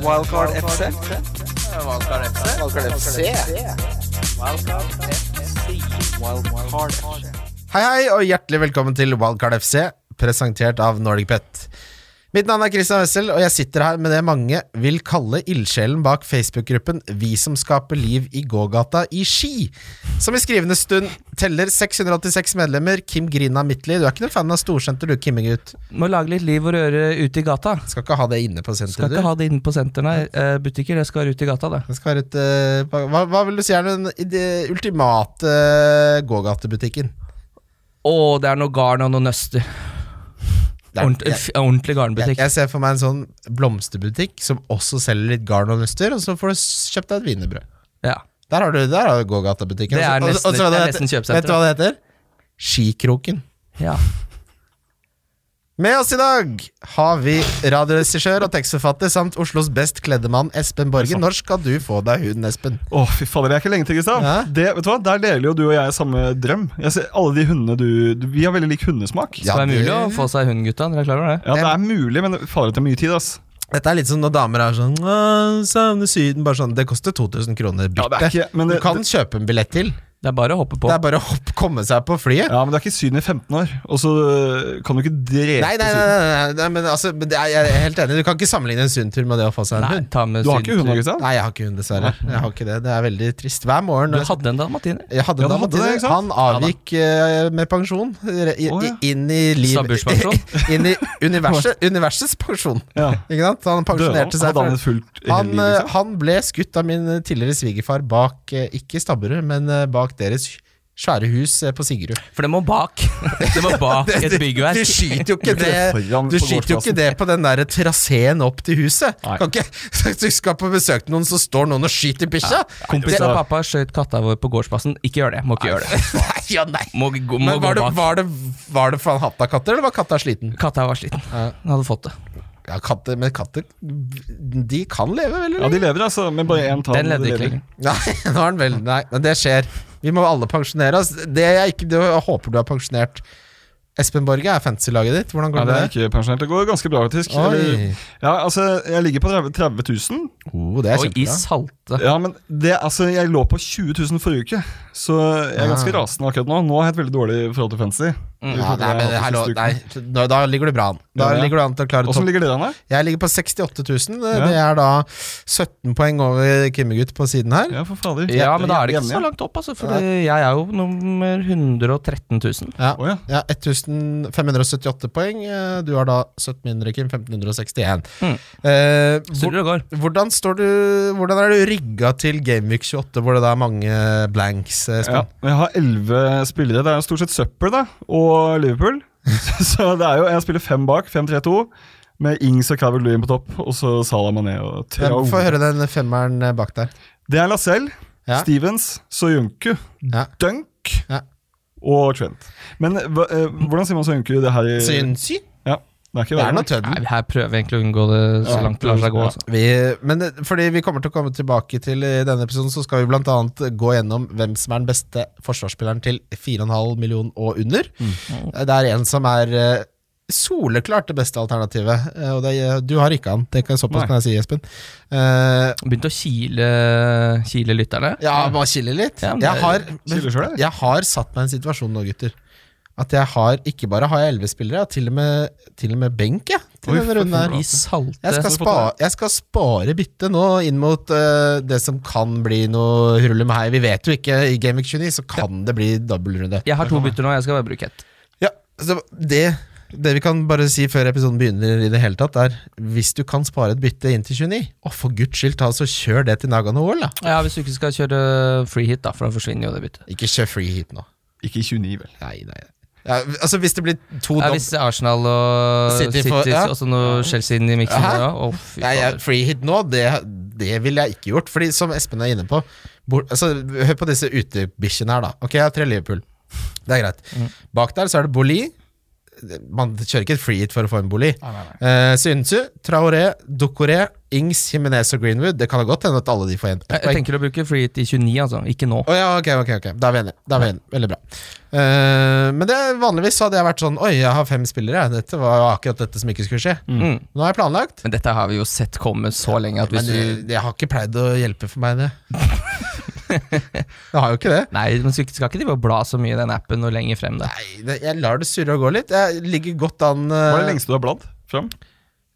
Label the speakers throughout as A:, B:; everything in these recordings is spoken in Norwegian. A: Wildcard FC.
B: Valkar FC.
A: Wildcard FC. Wildcard FC.
C: Hei, hei, og hjertelig velkommen til Wildcard FC, presentert av Nordic Pet. Mitt navn er Christian Wessel, og jeg sitter her med det mange vil kalle ildsjelen bak Facebook-gruppen Vi som skaper liv i gågata i Ski, som i skrivende stund teller 686 medlemmer. Kim Grina Midtly, du er ikke noen fan av storsenter, du, Kimmegutt.
D: Må lage litt liv og røre ute i gata.
C: Skal ikke ha det inne på
D: Skal
C: senteret,
D: ikke
C: du.
D: ha det inne på senter, nei. Eh, butikker, det skal være ute i gata, det.
C: Det skal være et, eh, hva, hva vil du si er den ide- ultimate eh, gågatebutikken?
D: Å, det er noe garn og noe nøster.
C: Det er-
D: Ordent, f- ordentlig
C: Jeg,
D: garnbutikk.
C: jeg ser for meg en sånn blomsterbutikk som også selger litt garn og nøster, og så får du s- kjøpt deg et wienerbrød.
D: Ja.
C: Der har du, der har du gågatabutikken.
D: Det er
C: Og så-
D: nesten-
C: og så- og så-
D: det er
C: vet-
D: nesten kjøpesenter.
C: Vet du hva det heter? Skikroken.
D: ja.
C: Med oss i dag har vi radioregissør og tekstforfatter samt Oslos best kledde mann Espen Borgen. Når skal du få deg huden, Espen?
E: Å, fy fader, det er ikke lenge til, Kristian.
C: Hæ?
E: Det, vet du hva? Der deler jo du og jeg samme drøm. Jeg ser alle de hundene du, du Vi har veldig lik hundesmak.
C: Ja,
D: Skal være mulig
C: det-
D: å få seg hund, gutta. Dere er klar over det?
E: Ja, det er mulig, men fader, det tar mye tid, ass.
C: Dette er litt som når damer er sånn «Åh, Savner Syden. Bare sånn, Det koster 2000 kroner
E: Ja, det er
C: bytte.
E: ikke, men
C: Du
E: det,
C: kan kjøpe en billett til.
D: Det er bare å hoppe på.
C: Det er bare å hopp- komme seg på flyet.
E: ja, men det er ikke Syden i 15 år, og så øh, kan du ikke drepe
C: Nei, nei, nei,
E: Syden.
C: nei, nei, nei men altså, men det er, jeg er helt enig. Du kan ikke sammenligne en sunn tur med det å få seg en
D: Nei,
C: hund. altså.
D: ta med
E: Du har ikke hund,
D: sydentur.
E: Kristian?
C: Nei, jeg har ikke hund, dessverre. Jeg har ikke det, det er veldig trist. Hver morgen
D: Du hadde en dalmatiner.
C: jeg hadde
E: Ja,
C: en
E: du hadde det,
C: dalmatiner.
E: ikke sant?
C: Han avgikk eh, med pensjon. re- I,
E: Å, ja.
C: i- Inn i livet
D: Samboerspensjon?
C: Inn i universet, universets pensjon.
E: Ja.
C: Ikke sant? Han
E: Døde han?
C: pensjonerte seg.
E: Hadde han et
C: For,
E: fullt
C: han,
E: helg,
C: eh,
E: liksom?
C: han ble skutt av min eh, tidligere svigerfar bak, eh, ikke i Stabberud, men eh, bak deres svære hus eh, på Sigerud.
D: For det må bak. Det må bak et
C: Du
D: byggverk.
C: skyter jo ikke
E: Du
C: det
E: foran
C: Du
E: på
C: skyter jo ikke
E: gårdsplassen.
C: det på den der traseen opp til huset.
E: Nei.
C: Kan ikke Du skal på besøk til noen, så står noen og skyter bikkja.
D: Kompis
C: altså.
D: av pappa skjøt katta vår på gårdsplassen. Ikke gjør det. Må ikke gjøre det.
C: Nei, ja, nei.
D: Må, gå- må
C: Men
D: gå
C: var det,
D: bak.
C: var det, var det for han hatta katter, eller var katta sliten?
D: Katta var sliten.
C: Ja.
D: Hun hadde fått det.
C: Ja, katter, Men katter De kan leve, vel?
E: Ja,
C: Eller?
E: de lever, altså, men bare én tann.
D: Den levde ikke
E: lever.
D: lenger.
C: Nei, nå er den vel Nei, men det skjer. Vi må alle pensjonere oss. Det jeg ikke du, jeg håper du har pensjonert Espen Borge, er fantasy-laget ditt. Hvordan
E: Nei,
C: går
E: det
C: det
E: er
C: med det?
E: ikke pensjonert. Det går ganske bra, faktisk.
C: Oi.
E: Ja, altså, jeg ligger på 30 000.
C: Oh, det er
D: Og i
C: kjempebra.
D: salte.
E: Ja, men det, altså, jeg lå på 20 000 forrige uke, så jeg er ganske
C: Ah. Mm.
E: rasende akkurat nå. Nå har jeg et veldig dårlig forhold til fantasy.
C: Ja, nei, men hallo, nei, nå- da ligger du bra an. Da
E: Ja, ja.
C: ligger du an til å klare topp
E: Åssen ligger dere an her?
C: Jeg ligger på 68 000. Det-
E: Ja.
C: Det er da 17 poeng over Kimmegutt på siden her.
E: Ja, for fader.
D: Ja, men da er det
E: Hjemme,
D: ikke
E: ja.
D: så langt opp, altså. For jeg er jo nummer 113 000.
C: Ja.
E: Å, ja.
C: Ja, 1578 poeng. Eh, Du har da 17 mindre, Kim. 1561.
E: Hmm.
D: Mm.
C: Eh, hvor,
D: Surrer og går.
C: hvordan, står du, hvordan er du rigga til Gameweek 28, hvor det da er mange blanks? eh,
E: Ja,
C: Espen?
E: men jeg har elleve spillere. Det er jo stort sett søppel da, og Liverpool. så det er jo Jeg spiller fem bak, 5-3-2, med Ings og Clavert Lewin på topp, og så Salah Mané og
C: Hvem-
E: Traore.
C: Eh, Få høre den femmeren eh, bak der.
E: Det er Lacelle,
C: Ja.
E: Stevens, Soyuncu,
C: Ja.
E: Dunk
C: Ja.
E: og Trent. Men hva, eh, hvordan sier man Soyuncu det her i
C: Synsy?
E: Ja, det er ikke
C: Eh, Det er
E: verre.
C: noe tøddel.
D: Nei, her prøver vi egentlig å unngå det så
E: Ja.
D: langt det lar seg gå.
E: Ja.
D: Altså.
C: Vi, men eh, fordi vi kommer til å komme tilbake til i denne episoden, så skal vi blant annet gå gjennom hvem som er den beste forsvarsspilleren til 4,5 million og under.
E: Mm.
C: Eh, Det er en som er eh, soleklart det beste alternativet, eh, og det er, du har ikke han. Det kan
E: Nei.
C: såpass kan jeg si, Espen. Eh,
D: Begynte å kile, kile lytterne.
C: ja, må chille litt.
D: Ja, men
C: jeg, har,
E: Chiller selv, eller?
C: jeg har satt meg i en situasjon nå, gutter. At jeg har, ikke bare har jeg elleve spillere, jeg har til og med, til og med benk, jeg. Til
E: Oi,
C: denne
E: for
C: runden her.
E: faen.
D: I salte
C: Jeg skal,
E: Så
C: spa, jeg skal spare byttet nå inn mot eh, det som kan bli noe rulle med hei. Vi vet jo ikke, i Game Week 29 så kan det bli dobbeltrunde.
D: Jeg har to bytter nå, jeg skal bare bruke ett.
C: Ja, så det, det vi kan bare si før episoden begynner, i det hele tatt er hvis du kan spare et bytte inn til 29, å for guds skyld, ta så kjør det til Nagano OL, da.
D: Ja, Hvis du ikke skal kjøre free hit, da, for da forsvinner jo det byttet.
C: Ikke kjør free hit nå.
E: Ikke i 29, vel.
C: Nei, nei. Ja, altså, hvis det blir to
D: Ja,
C: dobb...
D: hvis Arsenal og
C: City
D: City,
C: får- ja.
D: og så noe Chelsea inn i
C: Hæ?
D: miksen der, ja. Å, fy
C: Nei, jeg,
D: fader.
C: free hit nå, det, det ville jeg ikke gjort. Fordi som Espen er inne på bor, altså, Hør på
D: Mm.
C: disse utebikkjene her, da. Ok, jeg har tre Liverpool. Det er greit. Bak der så er det Boli, Man kjører ikke et free hit for å få en bolig.
E: Nei, nei, nei.
C: Eh, Synsu, Traoré, Dokore, Ings, Jimenez og Greenwood. Det kan da godt hende at alle de får en
D: Jeg, jeg tenker å bruke free hit i 29, altså. Ikke nå.
C: Å ja, ok, ok, ok. Da er vi enige. Da er vi enige. Veldig bra. Eh, men det, vanligvis så hadde jeg vært sånn Oi, jeg har fem spillere. Dette var jo akkurat dette som ikke skulle skje.
D: Mm.
C: Nå har jeg planlagt.
D: Men dette har vi jo sett komme så lenge at hvis
C: Men jeg,
D: du
C: jeg har ikke pleid å hjelpe for meg, det. jeg har jo ikke det.
D: Nei, men så skal ikke de bare bla så mye i den appen og lenger frem der.
C: Nei, det, jeg lar det surre og gå litt. Jeg ligger godt an eh,
E: Hva er det lengste du har bladd fram?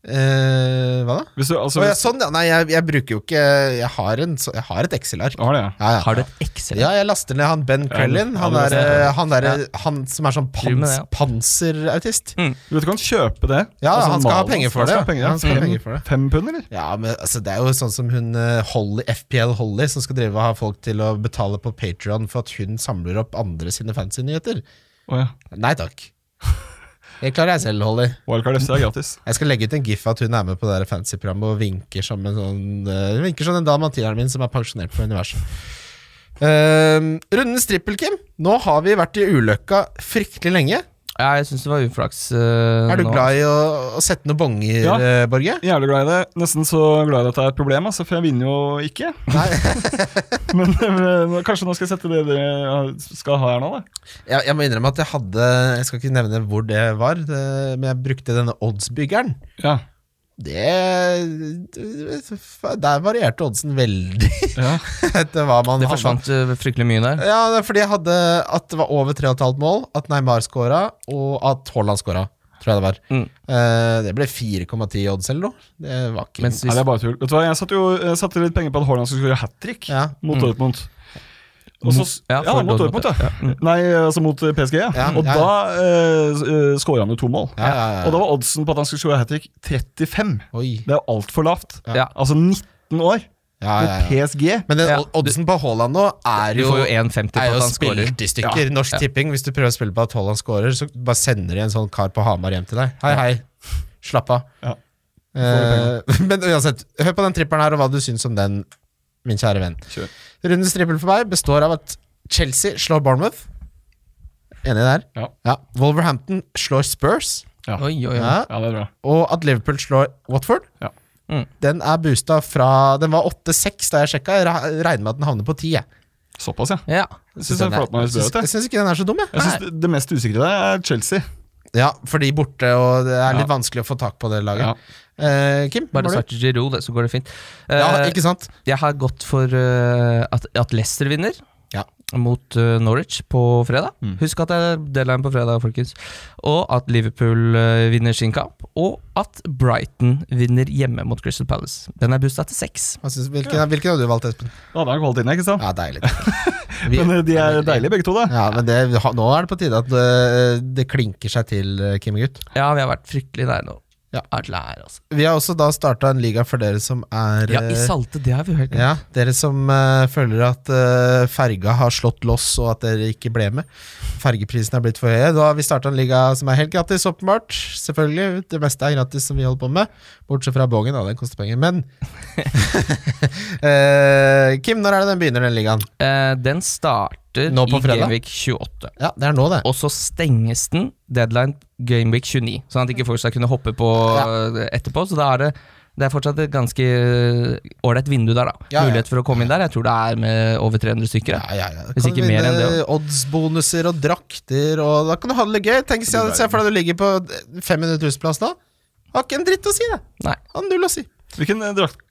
C: eh, Hva da?
E: Hvis du, altså,
C: Å, ja,
E: hvis,
C: sånn, ja. Nei, jeg, jeg bruker jo ikke Jeg har, en, så- jeg har et Excel-ark.
E: har det, ja.
C: Ja, ja.
D: Har du et Excel?
C: ja, jeg laster ned han Ben Crellin. Han,
E: Ja,
C: er,
E: det
C: eh, han, er, eh, han som er sånn
D: Driver med
C: pans,
D: det, ja.
C: panserautist.
E: Du vet du kan kjøpe det?
C: Ja, han skal ha
E: malen,
C: penger for
E: han skal
C: det, ja.
E: ha penger,
C: Han skal ha
E: Fem-
C: penger for det.
E: Fem pund, eller?
C: Ja, men altså, Det er jo sånn som hun eh, Holly, FPL Holly, som skal drive og ha folk til å betale på Patrion for at hun samler opp andre sine fancy-nyheter.
E: Å ja.
C: Nei takk. Det klarer jeg selv, Holly.
E: Wildcard FC er gratis.
C: Jeg skal legge ut en gif av at hun er med på det der fancy programmet og vinker som en sånn eh, Hun vinker som den dalmatineren min som er pensjonert fra universet. Uh, rundens trippel, Kim. Nå har vi vært i ulykka fryktelig lenge.
D: Ja, jeg syns det var uflaks. eh,
C: Er du
D: nå.
C: glad i å, å sette noen bonger,
E: Ja.
C: eh, Borge?
E: Jævlig glad i det. Nesten så glad i at det er et problem, altså, for jeg vinner jo ikke.
C: Nei.
E: Men, men kanskje nå skal jeg sette det dere skal ha her nå, da.
C: Jeg, jeg må innrømme at jeg hadde Jeg skal ikke nevne hvor det var, det, men jeg brukte denne oddsbyggeren.
E: Ja.
C: Det Der varierte oddsen veldig
E: ja.
C: etter hva man
D: Det
C: hadde.
D: forsvant eh, fryktelig mye der.
C: Ja, det er fordi jeg hadde at det var over 3,5 mål, at Neymar skåra, og at Haaland skåra. Tror jeg det var.
D: Mm.
C: Eh, det ble 4,10 odds eller noe. Det var ikke
D: Mens
E: Nei,
D: hvis
E: det er bare tull. Vet du hva, jeg satte jo jeg satte litt penger på at Haaland skulle gjøre hat trick
C: ja.
E: mot
D: Mm.
E: Dortmund. Og så,
D: Ja, Mm.
E: ja,
D: for
E: mot
D: Dortmund,
E: Dortmund, ja. Nei, altså mot eh, PSG. Ja.
C: Ja,
E: og
C: ja, ja.
E: da eh, eh, skåra han jo to mål.
C: Ja, ja, ja.
E: Og da var oddsen på at han skulle skåre hat trick 35.
C: Oi.
E: Det er altfor lavt.
D: Ja.
E: Altså 19 år
C: Ja,
E: med
C: ja, ja.
E: PSG.
C: Men den,
D: Ja.
C: oddsen på Haaland nå er
D: Du
C: jo,
D: får jo 1,50 på
C: er jo
D: at han scorer.
C: spilt i stykker. Norsk Tipping, hvis du prøver å spille på at Haaland scorer, så bare sender de en sånn kar på Hamar hjem til deg. Hei, hei. Slapp av.
E: Ja.
C: Eh, men uansett, hør på den trippelen her, og hva du syns om den, min kjære venn.
E: Kjør.
C: Rundens trippel for meg består av at Chelsea slår Bournemouth. Enig der?
E: Ja.
C: Wolverhampton slår Spurs.
E: Ja.
D: Oi, oi, oi.
C: Ja.
E: Ja, det er bra.
C: Og at Liverpool slår Watford.
E: Ja.
D: Mm.
C: Den er boosta fra Den var 8-6 da jeg sjekka. Jeg ra- regner med at den havner på 10. Jeg
E: Såpass, ja.
D: Ja.
E: Jeg syns jeg
C: den er-
E: forlater meg litt
C: syns-
E: bra ut, jeg.
C: jeg syns ikke den er så dum, jeg.
E: Jeg synes det- Det mest usikre der er Chelsea.
C: Ja, for de er borte, og det er litt
E: Ja.
C: vanskelig å få tak på det laget.
E: Ja.
C: Eh, Kim? var
D: Bare
C: du?
D: svarte Giro, det, så går det fint. Eh,
C: Ja, ikke sant?
D: jeg har gått for eh, at, at Leicester vinner.
C: Ja. Mm.
D: Mot eh, Norwich på fredag. Husk at det er deadline på fredag, folkens. Og at Liverpool eh, vinner sin kamp. Og at Brighton vinner hjemme mot Crystal Palace. Den er boosta til seks.
C: Hva syns- Hvilken, hvilken hadde du valgt, Espen?
E: Da hadde han kvalt inn, ikke sant?
C: Ja, deilig.
E: Men eh, de er deilige begge to, da.
C: Ja, men det, ha- nå er det på tide at eh, det, det klinker seg til, eh, Kim og gutt.
D: Ja, vi har vært fryktelig nære nå.
C: Ja.
D: Er lær, altså.
C: Vi har også da starta en liga for dere som er
D: Ja, i
C: eh,
D: salte, det har vi hørt.
C: Ja, dere som eh, føler at eh, ferga har slått loss og at dere ikke ble med. Fergeprisen er blitt for høye. Da har vi starta en liga som er helt gratis, åpenbart. Selvfølgelig. Det meste er gratis som vi holder på med. Bortsett fra Bågen, da. Den koster penger. Men Eh, Kim, når er det den begynner, den ligaen?
D: Eh, den starter
C: Nå på
D: i
C: fredag?
D: Gameweek 28.
C: Ja, det er nå, det.
D: Og så stenges den deadline Gameweek 29, sånn at ikke folk skal kunne hoppe på eh, etterpå. Så da er det det er fortsatt et ganske eh, ålreit vindu der, da.
C: Ja, ja.
D: Mulighet for å komme inn der. Jeg tror det er med over 300 stykker.
C: Ja,
D: Ja.
C: ja, ja.
D: Hvis
C: Kan
D: ikke
C: du
D: mer enn
C: vinne
D: det,
C: Oddsbonuser og drakter, og da kan du ha det litt gøy. Tenk se se for deg du ligger på 500 000-plass nå. Har ikke en dritt å si, det.
D: Nei.
C: Har null å si.
E: Hvilken eh, drakt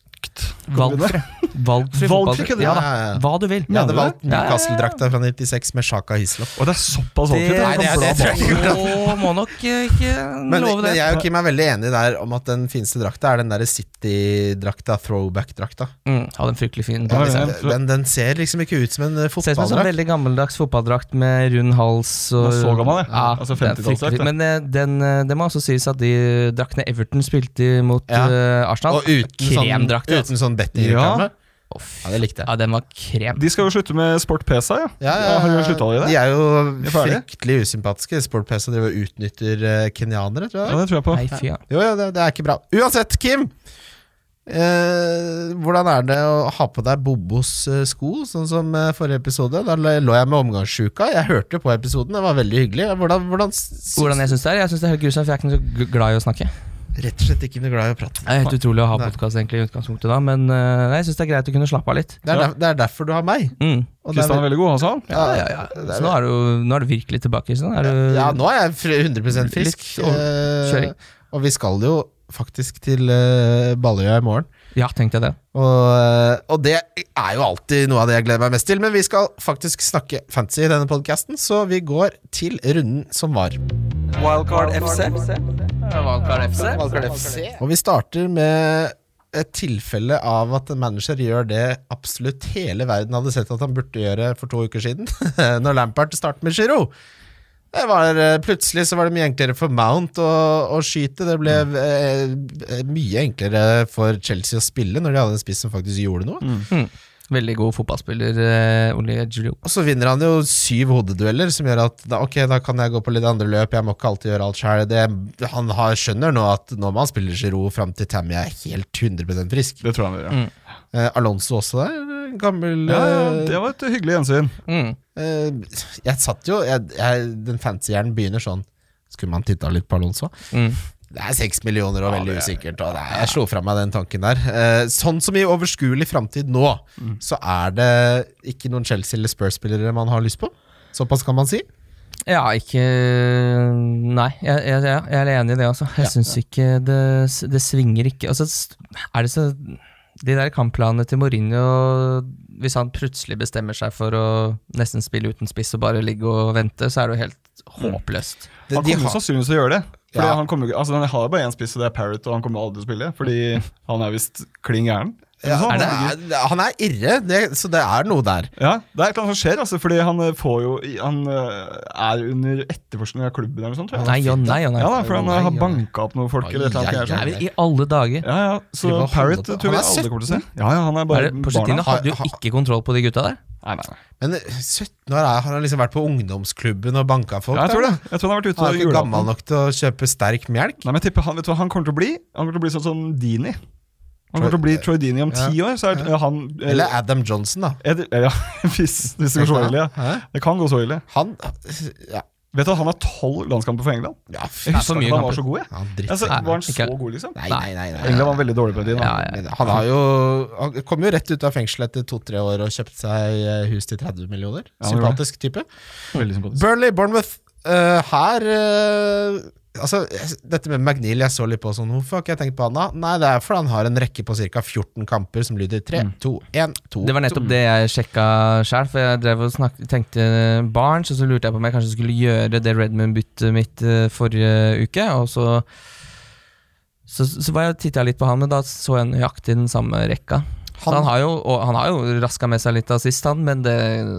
D: Valgfri. Valgfri
E: Valgfri,
D: fotballdrakt.
E: kødder
D: Ja, da.
C: Ja, ja, ja.
D: Hva du vil.
C: Jeg hadde
E: Mener du
C: valgt
D: Ja, ja, ja.
C: Newcastle-drakta fra 96 med Shaka Hislop.
E: Å, det er såpass valgfritt.
D: Det-
E: ja.
D: Nei, det
C: er- det tror jeg ikke.
D: Å, må nok eh, ikke
C: Men,
D: love det.
C: men jeg og Kim er veldig enige der om at den fineste drakta er den derre City-drakta, throwback-drakta.
D: Mm, hadde en fryktelig fin
E: Ja,
C: Liksom,
E: jeg tror-
C: Den, den ser liksom ikke ut som en eh,
D: Ser ut som en sånn
C: fotballdrakt.
D: veldig gammeldags fotballdrakt med rund hals. Og,
E: Den er så gammel, det.
D: ja,
E: Altså
D: det er
E: 50-tallsdrakt,
D: fryktelig.
E: det.
D: Men eh, den, eh, det må også sies at de draktene Everton spilte i mot
C: Ja.
D: eh, Arsenal
C: Og uten sånn,
D: Kremdrakt, altså.
C: uten sånn bettingreklame.
D: Å, fy-
C: Ja, det likte jeg.
D: Ja, den var krem.
E: De skal jo slutte med Sport PSA, ja.
C: Ja, ja,
E: Har de sluttet allerede?
C: De er jo
E: er ferdige.
C: fryktelig usympatiske. Sport PC driver og utnytter eh, kenyanere, tror jeg.
E: Ja, det tror jeg på.
D: Nei, fy ja.
C: Jo, ja, det, det er ikke bra. Uansett, Kim! Eh, hvordan er det å ha på deg Bobos eh, sko, sånn som eh, forrige episode? Da l- lå jeg med omgangssjuka. Jeg hørte jo på episoden, det var veldig hyggelig. Hvordan, hvordan, s-
D: Hvordan jeg syns det er? Jeg syns det er helt grusomt, for jeg er ikke noe så g- glad i å snakke.
C: Rett og slett ikke noe glad i å prate.
D: Det er helt utrolig å ha
C: Nei.
D: podkast i utgangspunktet, da, men eh, nei, jeg syns det er greit å kunne slappe av litt.
C: Det er, der, det er derfor du har meg. Og det
D: Mm.
C: er
E: Kristian er
C: vel-
E: veldig god, han sa han.
D: Ja, ja, ja.
C: det er
D: Så nå er, du, nå er du virkelig tilbake. Så nå er du,
C: Ja, nå er jeg fri- 100 frisk.
D: Litt overkjøring.
C: Eh, og vi skal jo faktisk til eh, Balløya i morgen.
D: ja, tenkte jeg det.
C: Og, eh, og det er jo alltid noe av det jeg gleder meg mest til, men vi skal faktisk snakke fancy i denne podkasten, så vi går til runden som var.
A: Wildcard FC.
B: Valkar FC.
A: Wildcard FC.
C: Og vi starter med et tilfelle av at en manager gjør det absolutt hele verden hadde sett at han burde gjøre for to uker siden, når Lampard startet med Giro. Det var, eh, plutselig så var det mye enklere for Mount å, å skyte. Det ble eh, mye enklere for Chelsea å spille når de hadde en spiss som faktisk gjorde noe.
D: Veldig god fotballspiller, eh, Ole Julio.
C: Og så vinner han jo syv hodedueller, som gjør at da, ok, da kan jeg gå på litt andre løp. Jeg må ikke alltid gjøre alt sjøl. Han har, skjønner nå at nå må han spille Giroud fram til Tammy er helt 100 frisk.
E: Det tror jeg han gjør, ja.
C: Eh, Alonso også der. en Gammel
E: ja, ja. Det var et hyggelig gjensyn.
D: Mm.
C: eh, Jeg satt jo jeg, jeg, Den fancy hjernen begynner sånn. Skulle man titta litt på Alonso?
D: Mm.
C: Det er seks millioner og veldig usikkert. Og det er, jeg slo fra meg den tanken der. Eh, sånn som i overskuelig framtid nå,
E: Mm.
C: så er det ikke noen Chelsea- eller Spurs-spillere man har lyst på. Såpass kan man si.
D: Ja, ikke Nei, jeg, jeg, jeg jeg er enig i det, altså. Jeg syns ikke det, det svinger ikke. Altså, s- er det så De der kampplanene til Mourinho Hvis han plutselig bestemmer seg for å nesten spille uten spiss og bare ligge og vente, så er det jo helt håpløst.
C: De-
E: Han
C: de
E: kommer
C: har-
E: sannsynligvis til å gjøre det. Fordi
C: Ja.
E: han, kommer, jo ikke- altså, han har bare én spiss, og det er Parrot, og han kommer aldri til å spille. Fordi han er visst klin gæren.
C: ja,
E: Sånn,
C: det
E: han-
C: er, det er- han er irre, det, så det er noe der.
E: Ja, det er et eller annet som skjer, altså, fordi han eh, får jo Han eh, er under etterforskning av klubben eller noe sånt, tror jeg.
D: Nei og nei og nei.
E: Ja da, for han eh, har
C: Nei, ja.
E: banka opp noen folk eller et eller annet.
C: Ai,
E: greier
D: Nei,
E: sånn.
D: men I alle dager.
E: Ja, ja, så
C: Driver og
E: Parrot
C: holder på.
E: tror vi
C: Han er
E: alle kommer til å se. Ja, ja, han er
D: Er
E: bare
D: det, Pochettino
E: barna.
D: hadde jo
C: Har- har-
D: ikke kontroll på de gutta der.
E: Nei, nei, nei.
C: Men eh, 17 år er, har han liksom vært på ungdomsklubben og banka folk?
E: Ja, jeg tror
C: da.
E: det. Jeg tror han har vært ute
C: Han er
E: og
C: ikke
E: julaften.
C: gammel nok til å kjøpe sterk melk.
E: Nei, men jeg tipper han, vet du hva han kommer til å bli? Han kommer til å bli sånn som Dini. Han kommer til å bli Troy Dini om ti år. Så er det- han eh,
C: Eller Adam Johnson, da.
E: er det- Ja, hvis, hvis det går så ille. Ja.
C: Hæ?
E: Det kan gå så ille.
C: Han Ja,
E: Vet du at han har tolv landskamper for England?
C: ja
E: Jeg
C: fy-
D: Nei,
E: husker
D: for
E: ikke
D: mye
E: at han var
D: kamper.
E: så god, jeg.
C: han dritt.
E: Altså,
D: Nei,
E: var han
D: ikke-
E: så god, liksom?
C: Nei, nei, nei. nei,
E: England
C: nei.
E: var veldig dårlig på den tiden.
D: Ja,
E: da.
D: ja.
C: Men han har jo Han kom jo rett ut av fengsel etter to-tre år og kjøpte seg eh, hus til 30 millioner.
E: han gjorde
C: Sympatisk type.
E: Veldig sympatisk.
C: Burnley, Bournemouth. eh, her eh, Altså, dette med McNeil jeg så litt på sånn Hvorfor har ikke jeg tenkt på han da? Nei, det er fordi han har en rekke på ca. 14 kamper som lyder 3,
E: Mm.
C: 2, 1, 2
D: Det var nettopp det jeg sjekka sjøl, for jeg drev og snak tenkte Barnes, og så lurte jeg på om jeg kanskje skulle gjøre det Redmond-byttet mitt eh, forrige uke, og så så, så var jeg titta litt på han, men da så jeg nøyaktig den samme rekka. Han, så han har jo, og han har jo raska med seg litt assist, han, men det,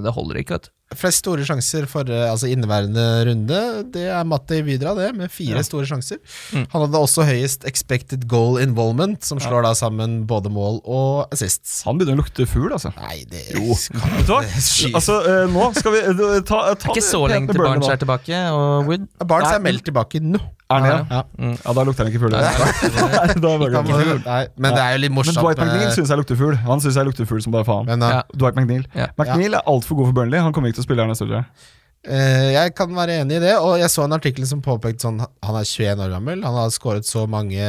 D: det holder ikke, vet du.
C: Flest store sjanser for eh, altså inneværende runde, det er Matte Vidra, det, med fire store sjanser.
E: Mm.
C: Han hadde også høyest expected goal involvement, som slår da sammen både mål og assists.
E: Han begynner å lukte fugl, altså.
C: Nei, det
E: Jo.
C: kan
E: Vet du hva?
C: Skyt.
E: Altså, eh, nå skal vi eh, ta, eh, ta
D: Det er ikke så
E: pent
D: lenge
E: med
D: til
E: Burnley
D: Barnes
E: nå.
D: er tilbake, og Wood
C: Barnes er
E: Nei.
C: meldt tilbake nå.
E: Er han det?
C: Ja.
E: Ja, da lukter han ikke fugl. Nei, da er det
C: Kan
E: bare-
C: man- Nei, men det er jo litt
E: Men
C: morsomt.
E: Dwight McNeil
C: med-
E: syns jeg lukter fugl. Han syns jeg lukter fugl som bare faen.
C: Men, ja.
D: Ja.
E: Dwight McNeil
D: Ja.
E: McNeil er altfor god for Burnley. Han kommer ikke til å spille her neste år. tror jeg.
C: Eh, jeg kan være enig i det, og jeg så en artikkel som påpekte sånn Han er 21 år gammel, han har skåret så mange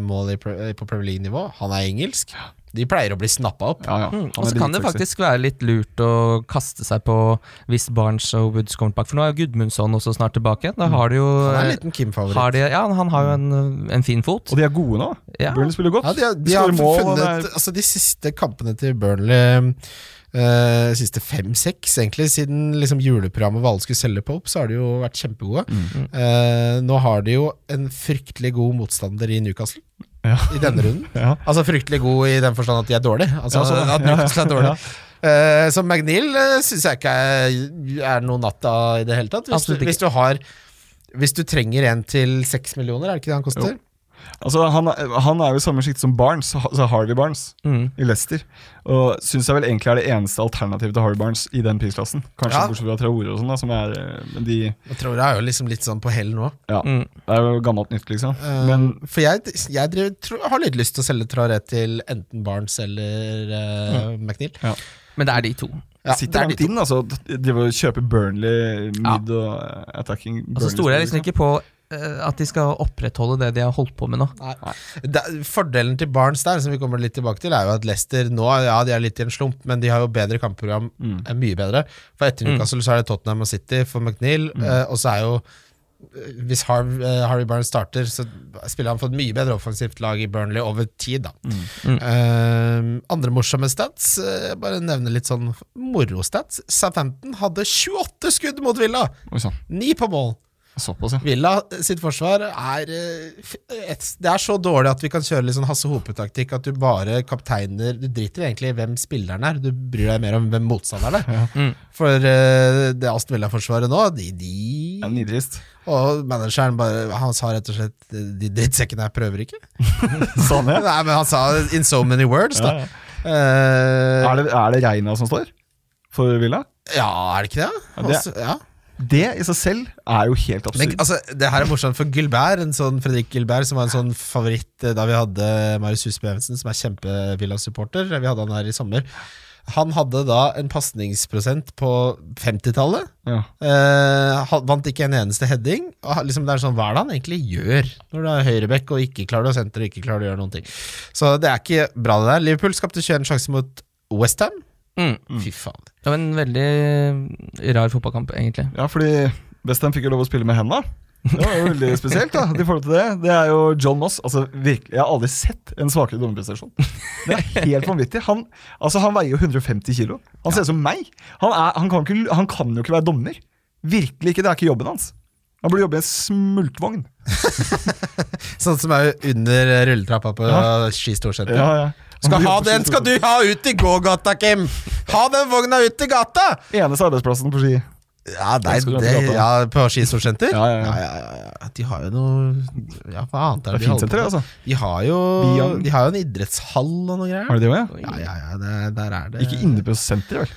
C: mål i, pre- på Premier League-nivå, han er engelsk. De pleier å bli snappa opp.
E: Ja, ja. Han er
D: Og så Hmm, altså, kan det
E: dritsexy.
D: faktisk være litt lurt å kaste seg på hvis Barnes og Woods kommer tilbake. For nå er jo Gudmundsson også snart tilbake. Da har de jo
C: Mm. Han er en liten
D: har
C: Kim-favoritt.
D: de, ja, han har jo en, en fin fot.
E: Og de er gode nå.
D: Ja.
E: Burnley spiller godt.
C: Ja, de, har- de har
E: Skårer mål, og det
C: funnet altså, De siste kampene til Burnley eh, siste fem-seks, egentlig, siden liksom, juleprogrammet Vale skulle selge på opp, så har de jo vært kjempegode.
E: Mm.
C: Eh, nå har de jo en fryktelig god motstander i Newcastle
E: Ja.
C: i denne runden.
E: Ja.
C: Altså fryktelig god i den forstand at de er dårlige. Altså,
E: Ja, sånn, ja.
C: at Newcastle er dårlig. Eh, så McNeil uh, syns jeg ikke er, er noe natta i det hele tatt. Hvis,
D: Absolutt
C: du,
D: ikke.
C: hvis du har Hvis du trenger en til seks millioner, er det ikke det han koster?
E: Altså, han, er- han er jo i samme sjikt som Barnes, altså Harvey Barnes
D: Mm.
E: i Leicester. Og syns jeg vel egentlig er det eneste alternativet til Harvey Barnes i den prisklassen. Kanskje
C: Ja.
E: bortsett fra Traore og sånn, da, som er eh, Men de
C: Jeg tror jeg er jo liksom litt sånn på hell nå.
E: Ja,
D: Mm.
E: det er jo gammelt nytt, liksom.
C: Eh,
E: Men
C: for jeg, jeg driver, tror, har litt lyst til å selge Traoré til enten Barnes eller eh, McNeil.
D: Men det er de to.
C: Ja,
E: sitter
C: det er
E: langt
C: de to.
E: inn, altså. De vil kjøpe Burnley mid og eh, attacking
D: Og så
E: Burnley-spillere,
D: stoler jeg liksom
E: liksom.
D: ikke på eh, at de skal opprettholde det de har holdt på med nå.
C: Det- Fordelen til Barnes der, som vi kommer litt tilbake til, er jo at Leicester nå ja, de er litt i en slump, men de har jo bedre kampprogram.
E: Mm.
C: Er mye bedre. For etter
D: Mm.
C: Newcastle så er det Tottenham og City for McNeil, eh, og så er jo eh, hvis Har eh, Harry Barnes starter, så spiller han for et mye bedre offensivt lag i Burnley over tid, da.
D: Mm.
C: Eh, andre morsomme stats, eh, jeg bare nevne litt sånn morostats. Southampton hadde 28 skudd mot Villa!
E: liksom. Oi sann,
C: 9 på mål.
E: såpass, ja.
C: Villa sitt forsvar er eh, f- et, Det er så dårlig at vi kan kjøre litt sånn Hasse Hope-taktikk at du bare kapteiner Du driter egentlig i hvem spilleren er, du bryr deg mer om hvem motstanderen er.
D: Mm.
C: For eh, det Aston Villa-forsvaret nå, de,
E: Det er
C: de
E: nitrist.
C: Og manageren bare, han sa rett og slett De drittsekkene her prøver ikke.
E: Sånn, ja.
C: Nei, men han sa in so many words, da.
E: Ja, ja.
C: Eh,
E: Er det, er det Reina som står for Villa?
C: ja, er det ikke det?
E: Ja, det-
C: Altså, ja.
E: Det i seg selv er jo helt
C: Men
E: absurd.
C: altså, det her er morsomt for Gilbert, en sånn Fredrik Gilbert, som var en sånn favoritt eh, da vi hadde Marius Husby Evensen, som er kjempevilla-supporter. Vi hadde han her i sommer. Han hadde da en pasningsprosent på 50-tallet.
E: Ja.
C: Eh, han vant ikke en eneste heading. Og han- liksom det er sånn, Hva er det han egentlig gjør når du er høyreback og ikke klarer å sentre og ikke klarer å gjøre noen ting? Så det er ikke bra, det der. Liverpool skapte 21 sjanser mot Westham.
D: Mm.
C: Fy faen.
D: Det var en veldig rar fotballkamp, egentlig.
E: Ja, fordi Bestham fikk jo lov å spille med henda. Det var jo veldig spesielt. da i forhold til Det Det er jo John Moss. Altså, virke, Jeg har aldri sett en svakere dommerprestasjon. Det er helt vanvittig. Han, altså, han veier jo 150 kilo. Han ser ut som meg. Han, er, han, kan ikke, han kan jo ikke være dommer. Virkelig ikke. Det er ikke jobben hans. Han burde jobbe i en smultvogn.
C: Sånn som er jo under eh, rulletrappa på
E: Ja.
C: eh, Ski Storsenter.
E: Ja, ja. Han
C: Skal
E: burde
C: ha
E: jobbe på
C: den skal
E: skistasjon.
C: du ha ut i gågata, Kim! Ha den vogna ut i gata!
E: Eneste arbeidsplassen på ski.
C: Ja, nei,
E: Den skal du ha
C: det,
E: ut i gata.
C: ja på Skistorsenter?
E: Ja, ja, ja.
C: ja, ja. De har jo noe Ja, hva annet
E: Det
C: er
E: er
C: det de
E: fint
C: holder på
E: senter,
C: med?
E: altså.
C: De har jo
E: Biang.
C: De har jo en idrettshall og noe greier.
E: Er det det også, ja?
C: Ja, ja, ja, det, der er det Eh,
E: Ikke inne på senteret, vel?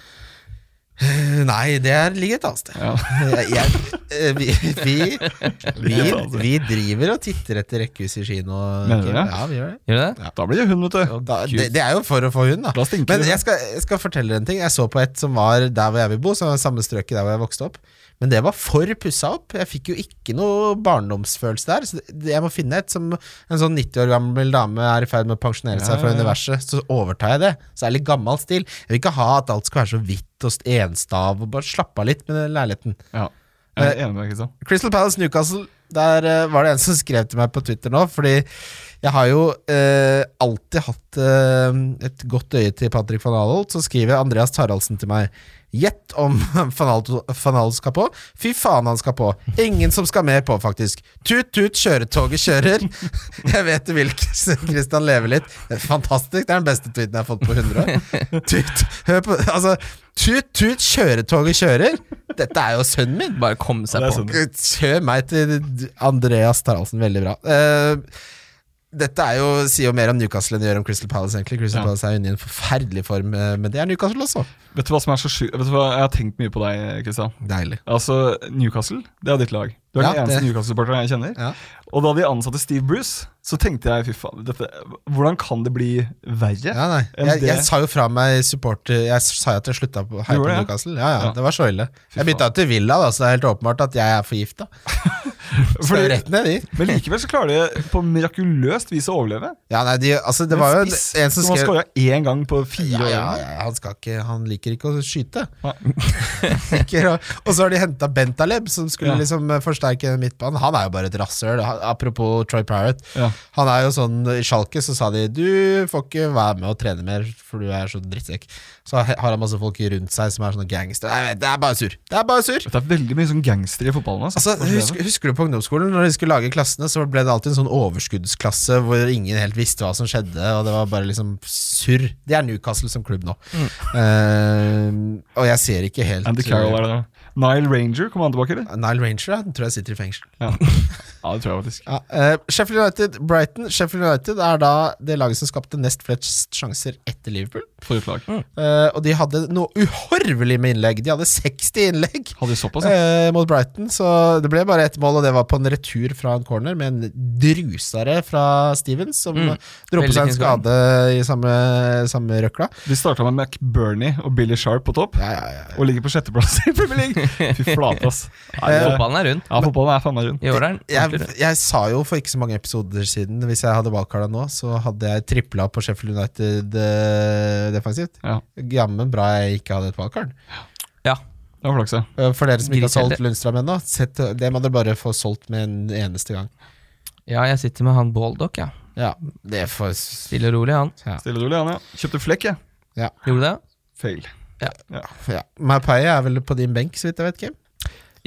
C: Nei, det er- ligger et annet sted.
E: Ja.
C: Jeg, eh, vi, vi, vi,
E: et annet sted.
C: vi driver og titter etter rekkehus i Ski nå.
E: Mener du
C: Kim.
E: det?
C: Ja, vi gjør det.
D: Gjør det det?
E: Da blir det hun, vet du.
C: Da, det, det er jo for å få hund, da.
E: Da stinker
C: Men
E: det.
C: jeg skal, jeg skal fortelle dere en ting. Jeg så på et som var der hvor jeg vil bo, som var samme strøket der hvor jeg vokste opp. Men det var for pussa opp. Jeg fikk jo ikke noe barndomsfølelse der. Så det- jeg må finne et som en sånn 90 år gammel dame er i ferd med å pensjonere seg
E: Ja,
C: fra
E: ja, ja.
C: universet. Så overtar jeg det. Så det er litt gammel stil. Jeg vil ikke ha at alt skal være så hvitt og enstav, og bare slappe av litt med den leiligheten.
E: Ja. Jeg
C: Eh,
E: er enig med deg, Kristian.
C: Crystal Palace Newcastle Der eh, var det en som skrev til meg på Twitter nå Fordi jeg har jo eh, alltid hatt eh, et godt øye til Patrick van Aalholt Så skriver Andreas Taraldsen til meg Gjett om van Aal- van Aalholt skal på Fy faen han skal på Ingen som skal mer på faktisk Tut tut kjøretoget kjører Jeg vet du vil Kristian lever litt Det er Fantastisk, det er den beste tweeten jeg har fått på 100 år Tut, hør på Altså, tut tut kjøretoget kjører Dette er jo sønnen min
D: Bare komme seg
E: Det er
D: på.
E: sånn.
C: Kjør meg til Andreas Taraldsen, veldig bra. Eh, dette er jo, sier jo mer om Newcastle enn det gjør om Crystal Palace. egentlig Crystal
E: Ja.
C: Palace er jo inne i en forferdelig form, eh, men det er Newcastle også.
E: Vet du hva som er så sju... Vet du hva, Jeg har tenkt mye på deg, Kristian.
C: Deilig.
E: Altså, Newcastle, det er ditt lag. Du er
C: Ja,
E: den eneste
C: det-
E: Newcastle-supporteren jeg kjenner.
C: Ja.
E: Og da de ansatte Steve Bruce, så tenkte jeg fy faen, dette, hvordan kan det bli verre?
C: Ja, nei.
E: enn
C: Jeg,
E: det?
C: jeg sa jo fra meg supporter Jeg sa jo at jeg slutta på heie
E: Gjorde
C: på
E: det, ja?
C: Newcastle. Ja, ja,
E: Ja.
C: Det var så ille.
E: Fy
C: Jeg bytta til Villa, da, så det er helt åpenbart at jeg er forgifta. Skal
E: Fordi,
C: rett ned dit.
E: men likevel så klarer de på mirakuløst vis å overleve.
C: Ja, nei, de, altså, det var jo en
E: spiss
C: en som
E: som har
C: skrev
E: skåra én gang på fire
C: ja,
E: år.
C: ja, ja, han, skal ikke, han liker ikke å skyte.
E: Nei.
C: Liker å, og så har de henta Bentaleb, som skulle
E: Ja.
C: liksom eh, forsterke midtbanen. Han er jo bare et rasshøl. Han- Apropos Troy Parrott.
E: Ja.
C: Han er jo sånn I Schalke så sa de du får ikke være med og trene mer, for du er så drittsekk. Så har han masse folk rundt seg som er sånne gangster. Nei, det er bare surr. Det er bare surr.
E: Det er veldig mye sånn gangstere i fotballen. Altså.
C: Altså, husker, husker du på ungdomsskolen, når de skulle lage klassene, så ble det alltid en sånn overskuddsklasse hvor ingen helt visste hva som skjedde, og det var bare liksom surr. Det er Newcastle som klubb nå. Eh, og jeg ser ikke helt
E: Mm.
C: eh,
E: Andy Carroll er det. da. Nile Ranger, kommer han tilbake, eller?
C: Nile Ranger ja, den tror jeg sitter i fengsel.
E: Ja. ja, det tror jeg faktisk.
C: Ja, eh, Sheffield United, Brighton Sheffield United er da det laget som skapte nest flest sjanser etter Liverpool.
E: For et lag.
C: Eh, og de hadde noe uhorvelig med innlegg. De hadde 60 innlegg
E: Hadde de såpass, ja?
C: eh, mot Brighton, så det ble bare ett mål, og det var på en retur fra en corner med en drusare fra Stevens, som
D: Mm.
C: dro på
D: Veldig
C: seg en
D: fin scoring.
C: skade i samme, samme røkla.
E: De starta med McBernie og Billy Sharp på topp,
C: Ja, ja, ja.
E: og ligger på sjetteplass i Premier League! Fy flate, ass. Nei, det-
D: Fotballen er rundt.
E: Ja, fotballen er faen meg rund.
D: I år er den ordentlig
C: jeg,
D: rund.
C: jeg sa jo for ikke så mange episoder siden, hvis jeg hadde valgkarta nå, så hadde jeg tripla på Sheffield United eh, defensivt.
E: Ja,
C: Jammen bra jeg ikke hadde et valgkart.
D: Ja.
E: det var flaks, ja.
C: Eh, For dere som ikke har
D: Griseheldig.
C: solgt Lundstrøm ennå, sett- det må dere bare få solgt med en eneste gang.
D: ja, jeg sitter med han Baldock, ja.
C: Ja, det er for
D: Stille og rolig, han.
E: Stille og rolig, han, ja. Kjøpte flekk, jeg.
D: Gjorde du det?
E: Fail.
C: ja. Mapaye er vel på din benk, så vidt jeg vet, Kim?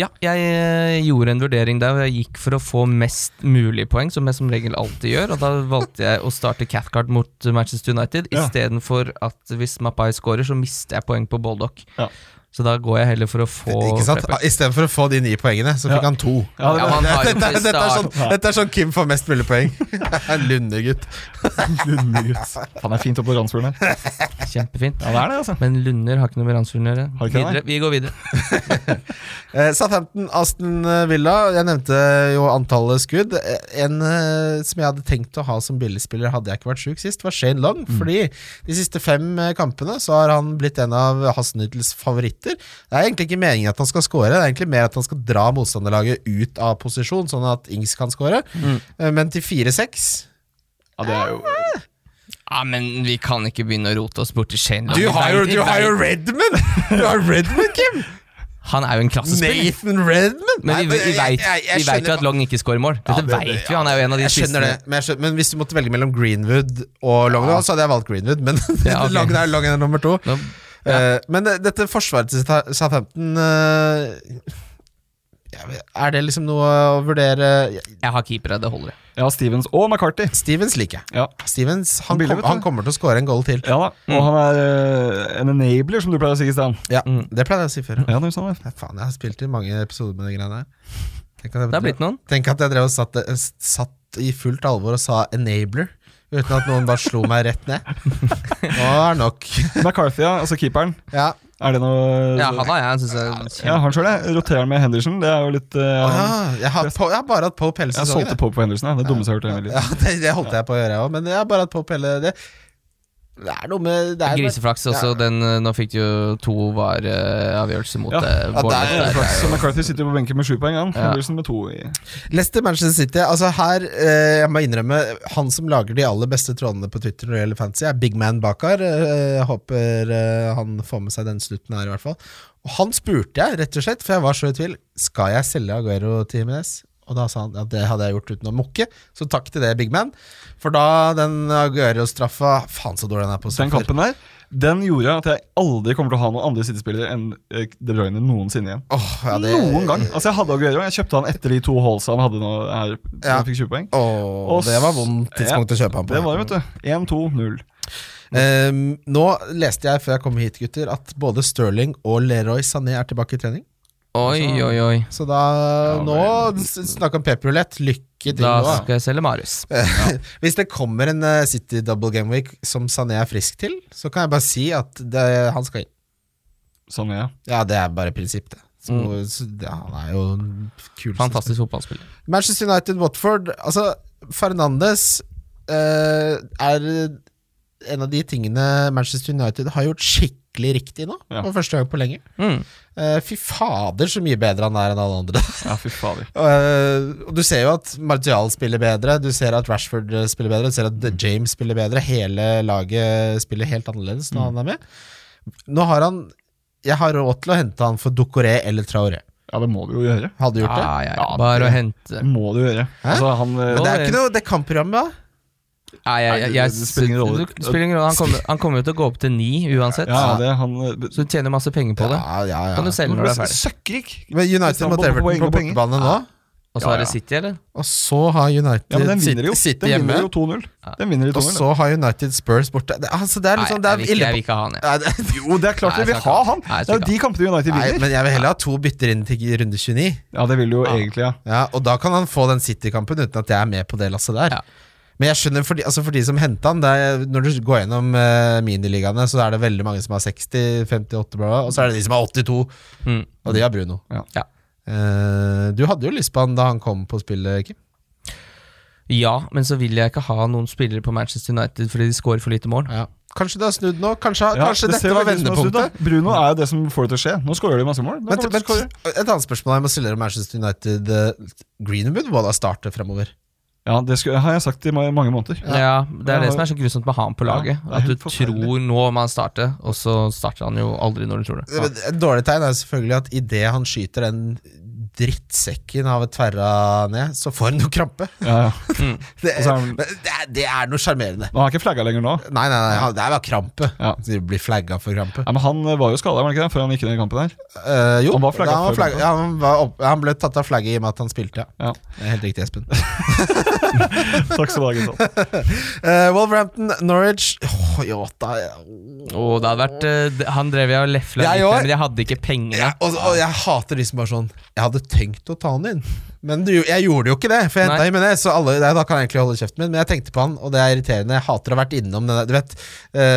D: Ja, jeg eh, gjorde en vurdering der hvor jeg gikk for å få mest mulig poeng, som jeg som regel alltid gjør, og da valgte jeg å starte Cathcart mot Manchester United
E: Ja.
D: istedenfor at hvis Mapai scorer, så mister jeg poeng på Baldock.
E: Ja.
D: Så da går jeg heller for å få
C: Eh, Ikke sant? Ah,
D: flere poeng.
C: Istedenfor å få de ni poengene, så fikk
E: Ja.
C: han to.
E: Ja, det
D: Ja,
E: var
D: man har jo
C: Dette,
D: ikke
C: dette, er sånn,
D: start.
C: dette er sånn Kim får mest mulig poeng. Lundegutt.
E: Lundegutt. Han er fint oppe på Randsfjorden her.
D: Kjempefint.
E: Ja, det er det, altså.
D: Men Lunder har ikke noe med Randsfjorden å gjøre.
E: Har ikke det,
D: Videre, Vi går videre.
C: Eh, Southampton, Aston eh, Villa. Jeg nevnte jo antallet skudd. Eh, En eh, som jeg hadde tenkt å ha som billigspiller, hadde jeg ikke vært sjuk sist, var Shane Long. Fordi de siste fem eh, kampene så har han blitt en av Hasnudels favoritter. Det er egentlig ikke meningen at han skal score, det er egentlig mer at han skal dra motstanderlaget ut av posisjon, sånn at Ings kan score. Eh, Men til 4-6
E: Ja, det er jo
D: Ja, men vi kan ikke begynne å rote oss bort til Shane. Long. Vi vet-
C: Redman! Du har Redman, Kim!
D: Han er jo en klassespiller.
C: Nathan Redman!
D: Men vi, vi, veit- vi vet jo at Long ikke scorer mål. Dette
E: det-
D: vet
E: det-
D: vi, han er jo en av de
C: Jeg skjønner det, men, jeg skjønner, men hvis du måtte velge mellom Greenwood og Logna, så hadde jeg valgt Greenwood, men
D: Ja, ok.
C: Logna er Logna nummer to.
D: Nå,
C: Eh, men eh, dette forsvaret til Sa- Southampton eh, jeg vet- Er det liksom noe å vurdere
D: jeg har keepere, det holder.
E: Ja, Stevens og McCarthy.
C: Stevens liker jeg.
E: Ja.
C: Stevens, han,
E: Billig,
C: kom,
E: vet du.
C: han kommer til å score en goal til.
E: Ja da, Og han er eh, en enabler, som du pleier å si, Kristian.
C: Ja, Det pleide jeg å si før.
E: Ja, det er jo sånn, det.
C: Nei, faen, jeg har spilt i mange episoder med de greiene her. Tenk at jeg-
D: Det har blitt noen.
C: Tenk at jeg drev og satt, satt i fullt alvor og sa 'enabler', uten at noen bare slo meg rett ned. Nå er det nok.
E: McCarthy, ja, altså keeperen.
C: Ja
E: Er det noe
D: Ja, han har jeg. Synes jeg
E: Ja, han sjøl, jeg. Roterer med Henderson. Det er jo litt eh, han,
C: Ah, jeg, har på, jeg har bare hatt Pope hele
E: Jeg solgte
C: sesongen.
E: Pope på Henderson. Jeg. Det dummeste jeg har hørt. i hele mitt liv.
C: Ja, det, det holdt jeg på å gjøre, jeg òg, men jeg har bare hatt Pope hele det. Det er noe med det er
D: Griseflaks
C: Ja.
D: også. Den, eh, nå fikk du jo to var eh, avgjørelse mot
E: Ja.
D: eh,
C: Ja,
D: Bournemouth
C: det er-
D: der.
E: Så McCarthy sitter på benken med sju poeng, han.
D: Ja.
E: Henderson med to. i
C: Leicester Manchester City. Altså her, eh, jeg må innrømme, han som lager de aller beste trådene på Twitter når det gjelder fantasy, er Big Man Bakar. Eh, jeg håper eh, han får med seg den slutten her, i hvert fall. Og han spurte jeg, rett og slett, for jeg var så i tvil. Skal jeg selge Aguero til Jimenez? Og da sa han at det hadde jeg gjort uten å mukke, så takk til det, Big Man. For da den Aguero-straffa Faen, så dårlig den er på
E: Den
C: straffer.
E: kampen der Den gjorde at jeg aldri kommer til å ha noen andre City-spillere enn eh, De Bruyne noensinne igjen.
C: Åh, ja, det,
E: Noen gang! Altså Jeg hadde Aguero. Jeg kjøpte han etter de to hallsa han hadde nå her. Så
C: Ja.
E: han fikk 20 poeng.
C: Åh,
E: Og
C: det var
E: s-
C: vondt tidspunkt å kjøpe han på.
E: Det var det, vet du. 1-2-0.
C: Ehm, nå leste jeg før jeg kom hit, gutter, at både Sterling og Leroy Sané er tilbake i trening.
D: Oi, oi, oi.
C: Så da
E: Ja,
C: nå
E: vel.
C: s- Snakk om pepperulett. Lykke til
D: Da
C: nå. da.
D: skal jeg selge Marius.
C: Hvis det kommer en eh, City double game week som Sané er frisk til, så kan jeg bare si at det, han skal inn.
E: Sånn er jeg.
C: Ja, det er bare prinsipp, det. Så, så, ja, han er jo en kul
D: Fantastisk fotballspiller.
C: Manchester United, Watford Altså, Fernandes eh, er en av de tingene Manchester United har gjort skikkelig riktig nå,
E: Ja.
C: for første gang på lenge.
D: Mm.
C: Eh, fy fader, så mye bedre han er enn alle andre.
E: Ja, fy fader.
C: Eh, og Du ser jo at Martial spiller bedre, du ser at Rashford eh, spiller bedre, du ser at James spiller bedre. Hele laget spiller helt annerledes når han er med. Nå har han Jeg har råd til å hente han for Ducoré eller Traoré.
E: Ja, det må du jo gjøre.
C: Hadde du
D: Ja,
C: gjort det?
D: ja, ja.
E: Ja,
D: Bare å
E: det-
D: hente
E: Det må du gjøre. Altså, han eh,
C: Men det er
D: Nå-
C: ikke noe Det er kampprogrammet, da.
D: Nei, jeg,
E: Nei,
D: jeg,
E: det-
D: jeg,
E: det spiller ingen rolle.
D: det spiller ingen rolle. Han kommer- Han kommer jo til å gå opp til ni uansett,
E: Ja, det han eh, b-
D: så du tjener masse penger på det.
C: Ja, ja, ja.
D: Kan du selge når du er ferdig.
E: Søkkrik!
C: Men
E: Hvis
C: United
E: han
C: mot
E: bommer på
C: Everton
E: poeng
C: på
E: og penger.
C: bortebane nå,
D: Og så
E: Ja,
D: er det
E: ja.
D: City, eller?
C: Og så har United
E: Ja, men den vinner
C: City,
E: jo.
C: City
E: Den
C: hjemme.
E: vinner jo 2-0. Den vinner i
C: Og
E: 2-0.
C: så har United Spurs borte. Det, altså, det er liksom det
D: jeg,
C: er
D: vil ikke, jeg
C: ille
D: vil ikke ha han, jeg.
C: Nei, det-
E: Jo, det er klart
D: Nei,
E: vi vil
D: jeg
E: ha
D: skal ikke ha
E: han!
D: han.
E: Det
D: Nei, jeg
E: er
D: skal
E: jo de kampene United
C: Nei,
E: vinner.
C: men jeg vil heller ha to bytter inn til runde 29.
E: Ja, det vil jo egentlig, ja.
C: Ja, og da kan han få den City-kampen uten at jeg er med på det lasset der.
D: Ja.
C: Men jeg skjønner for de, altså for de som henta han det er, Når du går gjennom eh, miniligaene, så er det veldig mange som har 60, 58, bla, bla, og så er det de som har 82,
D: Mm.
C: og de har Bruno.
E: Ja.
D: Ja.
C: Eh, du hadde jo lyst på han da han kom på spillet, Kim.
D: Ja, men så vil jeg ikke ha noen spillere på Manchester United fordi de scorer for lite mål.
C: Ja. Kanskje du har snudd nå? Kanskje,
E: Ja,
C: kanskje
E: det ser
C: dette
E: jo
C: var
E: veldig ut som han har snudd,
C: vendepunktet?
E: da. Bruno er jo det som får det til å skje. Nå skårer de masse mål. Nå
C: Men,
E: kommer de
C: men,
E: til å score.
C: et annet spørsmål jeg må stille om Manchester United. eh, Greenwood må da starte fremover.
E: Ja, det sku- har jeg sagt i ma- mange måneder.
D: Ja, Det er det som er så grusomt med han på
E: Ja,
D: laget.
E: det er
D: At du
E: helt forferdelig.
D: tror nå man starter, og så starter han jo aldri når du tror det.
C: Men Et dårlig tegn er selvfølgelig at idet han skyter den drittsekken av et tverra ned, så får han noe krampe.
E: Ja, ja.
C: Det,
E: Og så er han-
C: men det, er, det er noe sjarmerende.
E: Nå har jeg ikke flagga lenger nå.
C: Nei, nei, nei, han- det er bare krampe.
E: Ja.
C: Så de blir flagga for krampe.
E: Ja, men Han eh, var jo skada, var han ikke det? Før han gikk inn i den kampen her.
C: Eh, jo,
E: Han var flagget
C: da han,
E: for
C: flagget- ja, han, var opp, han ble tatt av flagget i og med at han spilte, ja.
E: Ja.
C: Det er Helt riktig, Espen.
E: Takk skal du ha, gutta.
C: Eh, Wolverhampton, Norwich Åh, Jota
D: Og det hadde vært eh, det- Han drev jeg og lefla
C: Jeg
D: litt
C: òg.
D: med, men jeg hadde ikke pengene.
C: jeg, og, og jeg hater de som bare sånn Jeg hadde tenkt å ta han inn Men du, jeg gjorde jo ikke det For jeg hentet
D: Nei.
C: him med det Så alle, nei, da kan jeg egentlig holde kjeften min Men jeg tenkte på han Og det er irriterende Jeg hater å ha vært innom den der- Du vet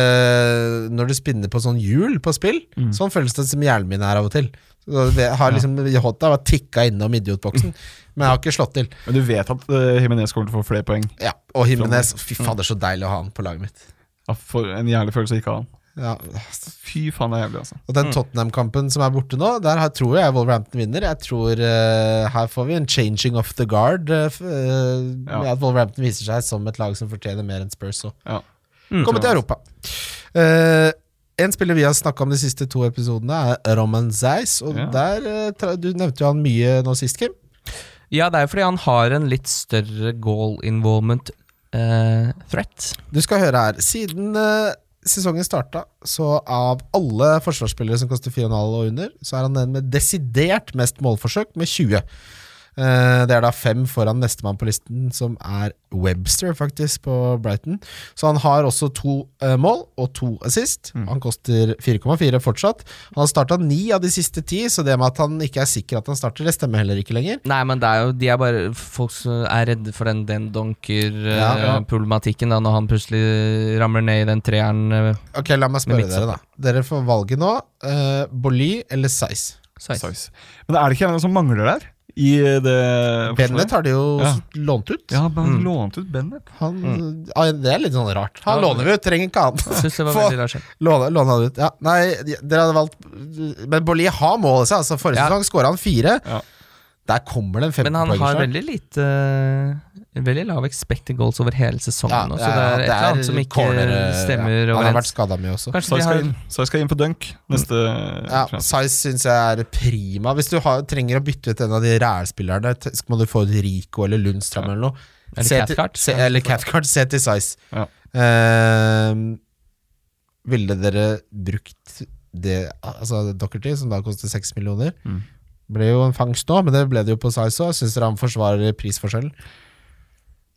C: eh, Når du spinner på sånn hjul på spill Sånn føles det som hjernen min er av og til Så det har liksom Jota har tikket innom idiotboksen Men jeg har ikke slått til
E: Men du vet at eh, Jimenez kommer til å få flere poeng.
C: ja, Og Jimenez Fy faen, det er så deilig å ha han på laget mitt
E: Ja, for en jævlig følelse å ikke ha han.
C: ja.
E: Fy faen, det er jævlig, altså.
C: Og den Tottenham-kampen som er borte nå, der har- tror jeg Wolverhampton vinner. Jeg tror eh, Her får vi en changing of the guard. eh, f- eh, med At Wolverhampton viser seg som et lag som fortjener mer enn Spurs. Og
E: Ja.
C: kommer til Europa. Eh, en spiller vi har snakka om de siste to episodene, er Roman Zeiss. Og
E: Ja.
C: der, eh, tra- Du nevnte jo han mye nå sist, Kim.
D: Ja, det er jo fordi han har en litt større goal involvement eh, threat.
C: Du skal høre her. Siden eh, sesongen starta, så av alle forsvarsspillere som koster 4,5 og under, så er han den med desidert mest målforsøk, med 20. Eh, det er da fem foran nestemann på listen, som er Webster, faktisk, på Brighton. Så han har også to eh, mål og to assist. Han koster 4,4 fortsatt. Han har starta ni av de siste ti, så det med at han ikke er sikker at han starter, det stemmer heller ikke lenger.
D: Nei, men det er jo de er bare folk som er redde for den den
C: Ja, ja.
D: donker-problematikken da, når han plutselig ramler ned i den treeren. eh,
C: Ok, la meg spørre
D: Med
C: dere, da. Dere får valget nå. Uh, Bolly eller Size?
D: size.
E: Size. Men er det ikke en som mangler der? I eh, det
C: Bennett har de jo
E: Ja.
C: lånt ut.
E: Ja, Mm. man
D: Mm.
E: lånte ut Bennett.
C: Han, ah, det er litt sånn rart. Han
D: Ja,
C: låner vi ut, trenger ikke han.
D: Synes det var
C: Få-
D: veldig rart. skjedd.
C: Låne, låne han ut. Ja, nei, de- dere hadde valgt Men Bolli har målet seg. Altså, forrige
D: Ja.
C: sesong skåra han fire.
E: Ja.
C: Der kommer det en
D: Men han har
C: 15-poenger.
D: veldig lite eh, Veldig lav expected goals over hele
C: Ja,
D: sesongen nå, så
C: ja,
D: det er et
C: det er
D: eller annet som ikke
C: corner, eh,
D: stemmer
C: Han har vært
D: overens.
C: skada mye også.
D: Kanskje
E: Size
D: de har
E: skal, inn- Size skal inn på dunk neste
C: Ja,
E: transfer.
C: Size syns jeg er prima. Hvis du har, trenger å bytte ut en av de rælspillerne, t- så må du få ut Rico eller Lundstrøm eller noe.
D: Eller
C: Se til-
D: Cathcart.
C: se- Eller Cathcart. Se til Size.
E: Ja.
C: Ehm, ville dere brukt det Altså Dockerty, som da koster seks millioner, ble jo en fangst nå, men det ble det jo på Size òg. Syns dere han forsvarer prisforskjellen?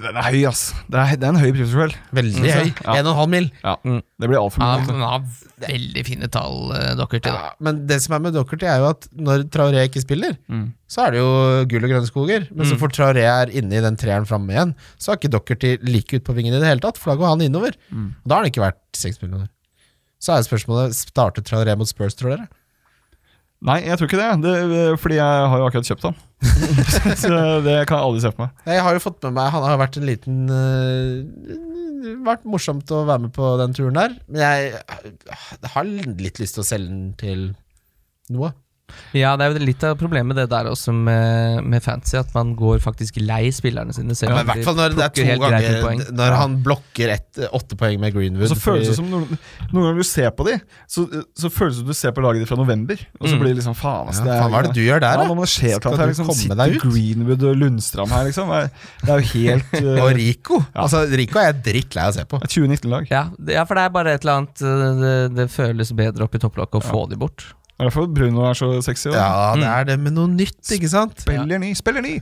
E: Den er høy, ass. Det er, det er en høy prisforskjell.
C: Veldig høy.
E: Ja.
C: En og en halv mil.
E: Det blir altfor
D: Ja,
E: mye.
D: men han har veldig fine tall, eh, dere til. da.
C: Ja, men det som er med Docherty, er jo at når Traoré ikke spiller, så er det jo gull og grønne skoger. Men så fort Traoré er inne i den treeren framme igjen, så er ikke Docherty like ut på vingen i det hele tatt, for da går han innover. Og da har han ikke vært seks millioner. Så er spørsmålet starter Traoré mot Spurs, tror dere?
E: Nei, jeg tror ikke det. det fordi jeg har jo akkurat kjøpt han. så det kan jeg aldri se for meg.
C: Jeg har jo fått med meg Han har vært en liten øh, Vært morsomt å være med på den turen der. Men jeg har litt lyst til å selge den til noe.
D: Ja, det er jo litt av problemet med det der også med, med fancy, at man går faktisk lei spillerne sine. Selv
C: Men I
D: om
C: hvert
D: de
C: fall når det er
D: plukker
C: to
D: helt greit med poeng.
C: ganger Når han blokker ett- åtte poeng med Greenwood.
E: Og så føles det
C: fordi-
E: som Noen, noen ganger du ser på de, så, så føles det som du ser på laget ditt fra november. Og så blir det liksom faen, ass.
C: Mm. Ja, faen, hva er det du gjør der,
E: ja,
C: da?
E: nå må det skje et eller
C: Skal
E: annet her,
C: du
E: liksom,
C: komme
E: Sitter
C: deg ut?
E: Greenwood og Lundstram her, liksom. Det er- Det er jo helt eh,
C: Og Rico. Altså, Rico er jeg drittlei av å se på.
E: et 2019-lag.
D: Ja, det- ja, for det er bare et eller annet eh, Det, det føles bedre opp i topplokket å få de bort.
E: Det er derfor Bruno er så sexy. og
C: Ja, det
D: Mm.
C: er det med noe nytt, ikke sant?
E: Spiller ny, spiller ny!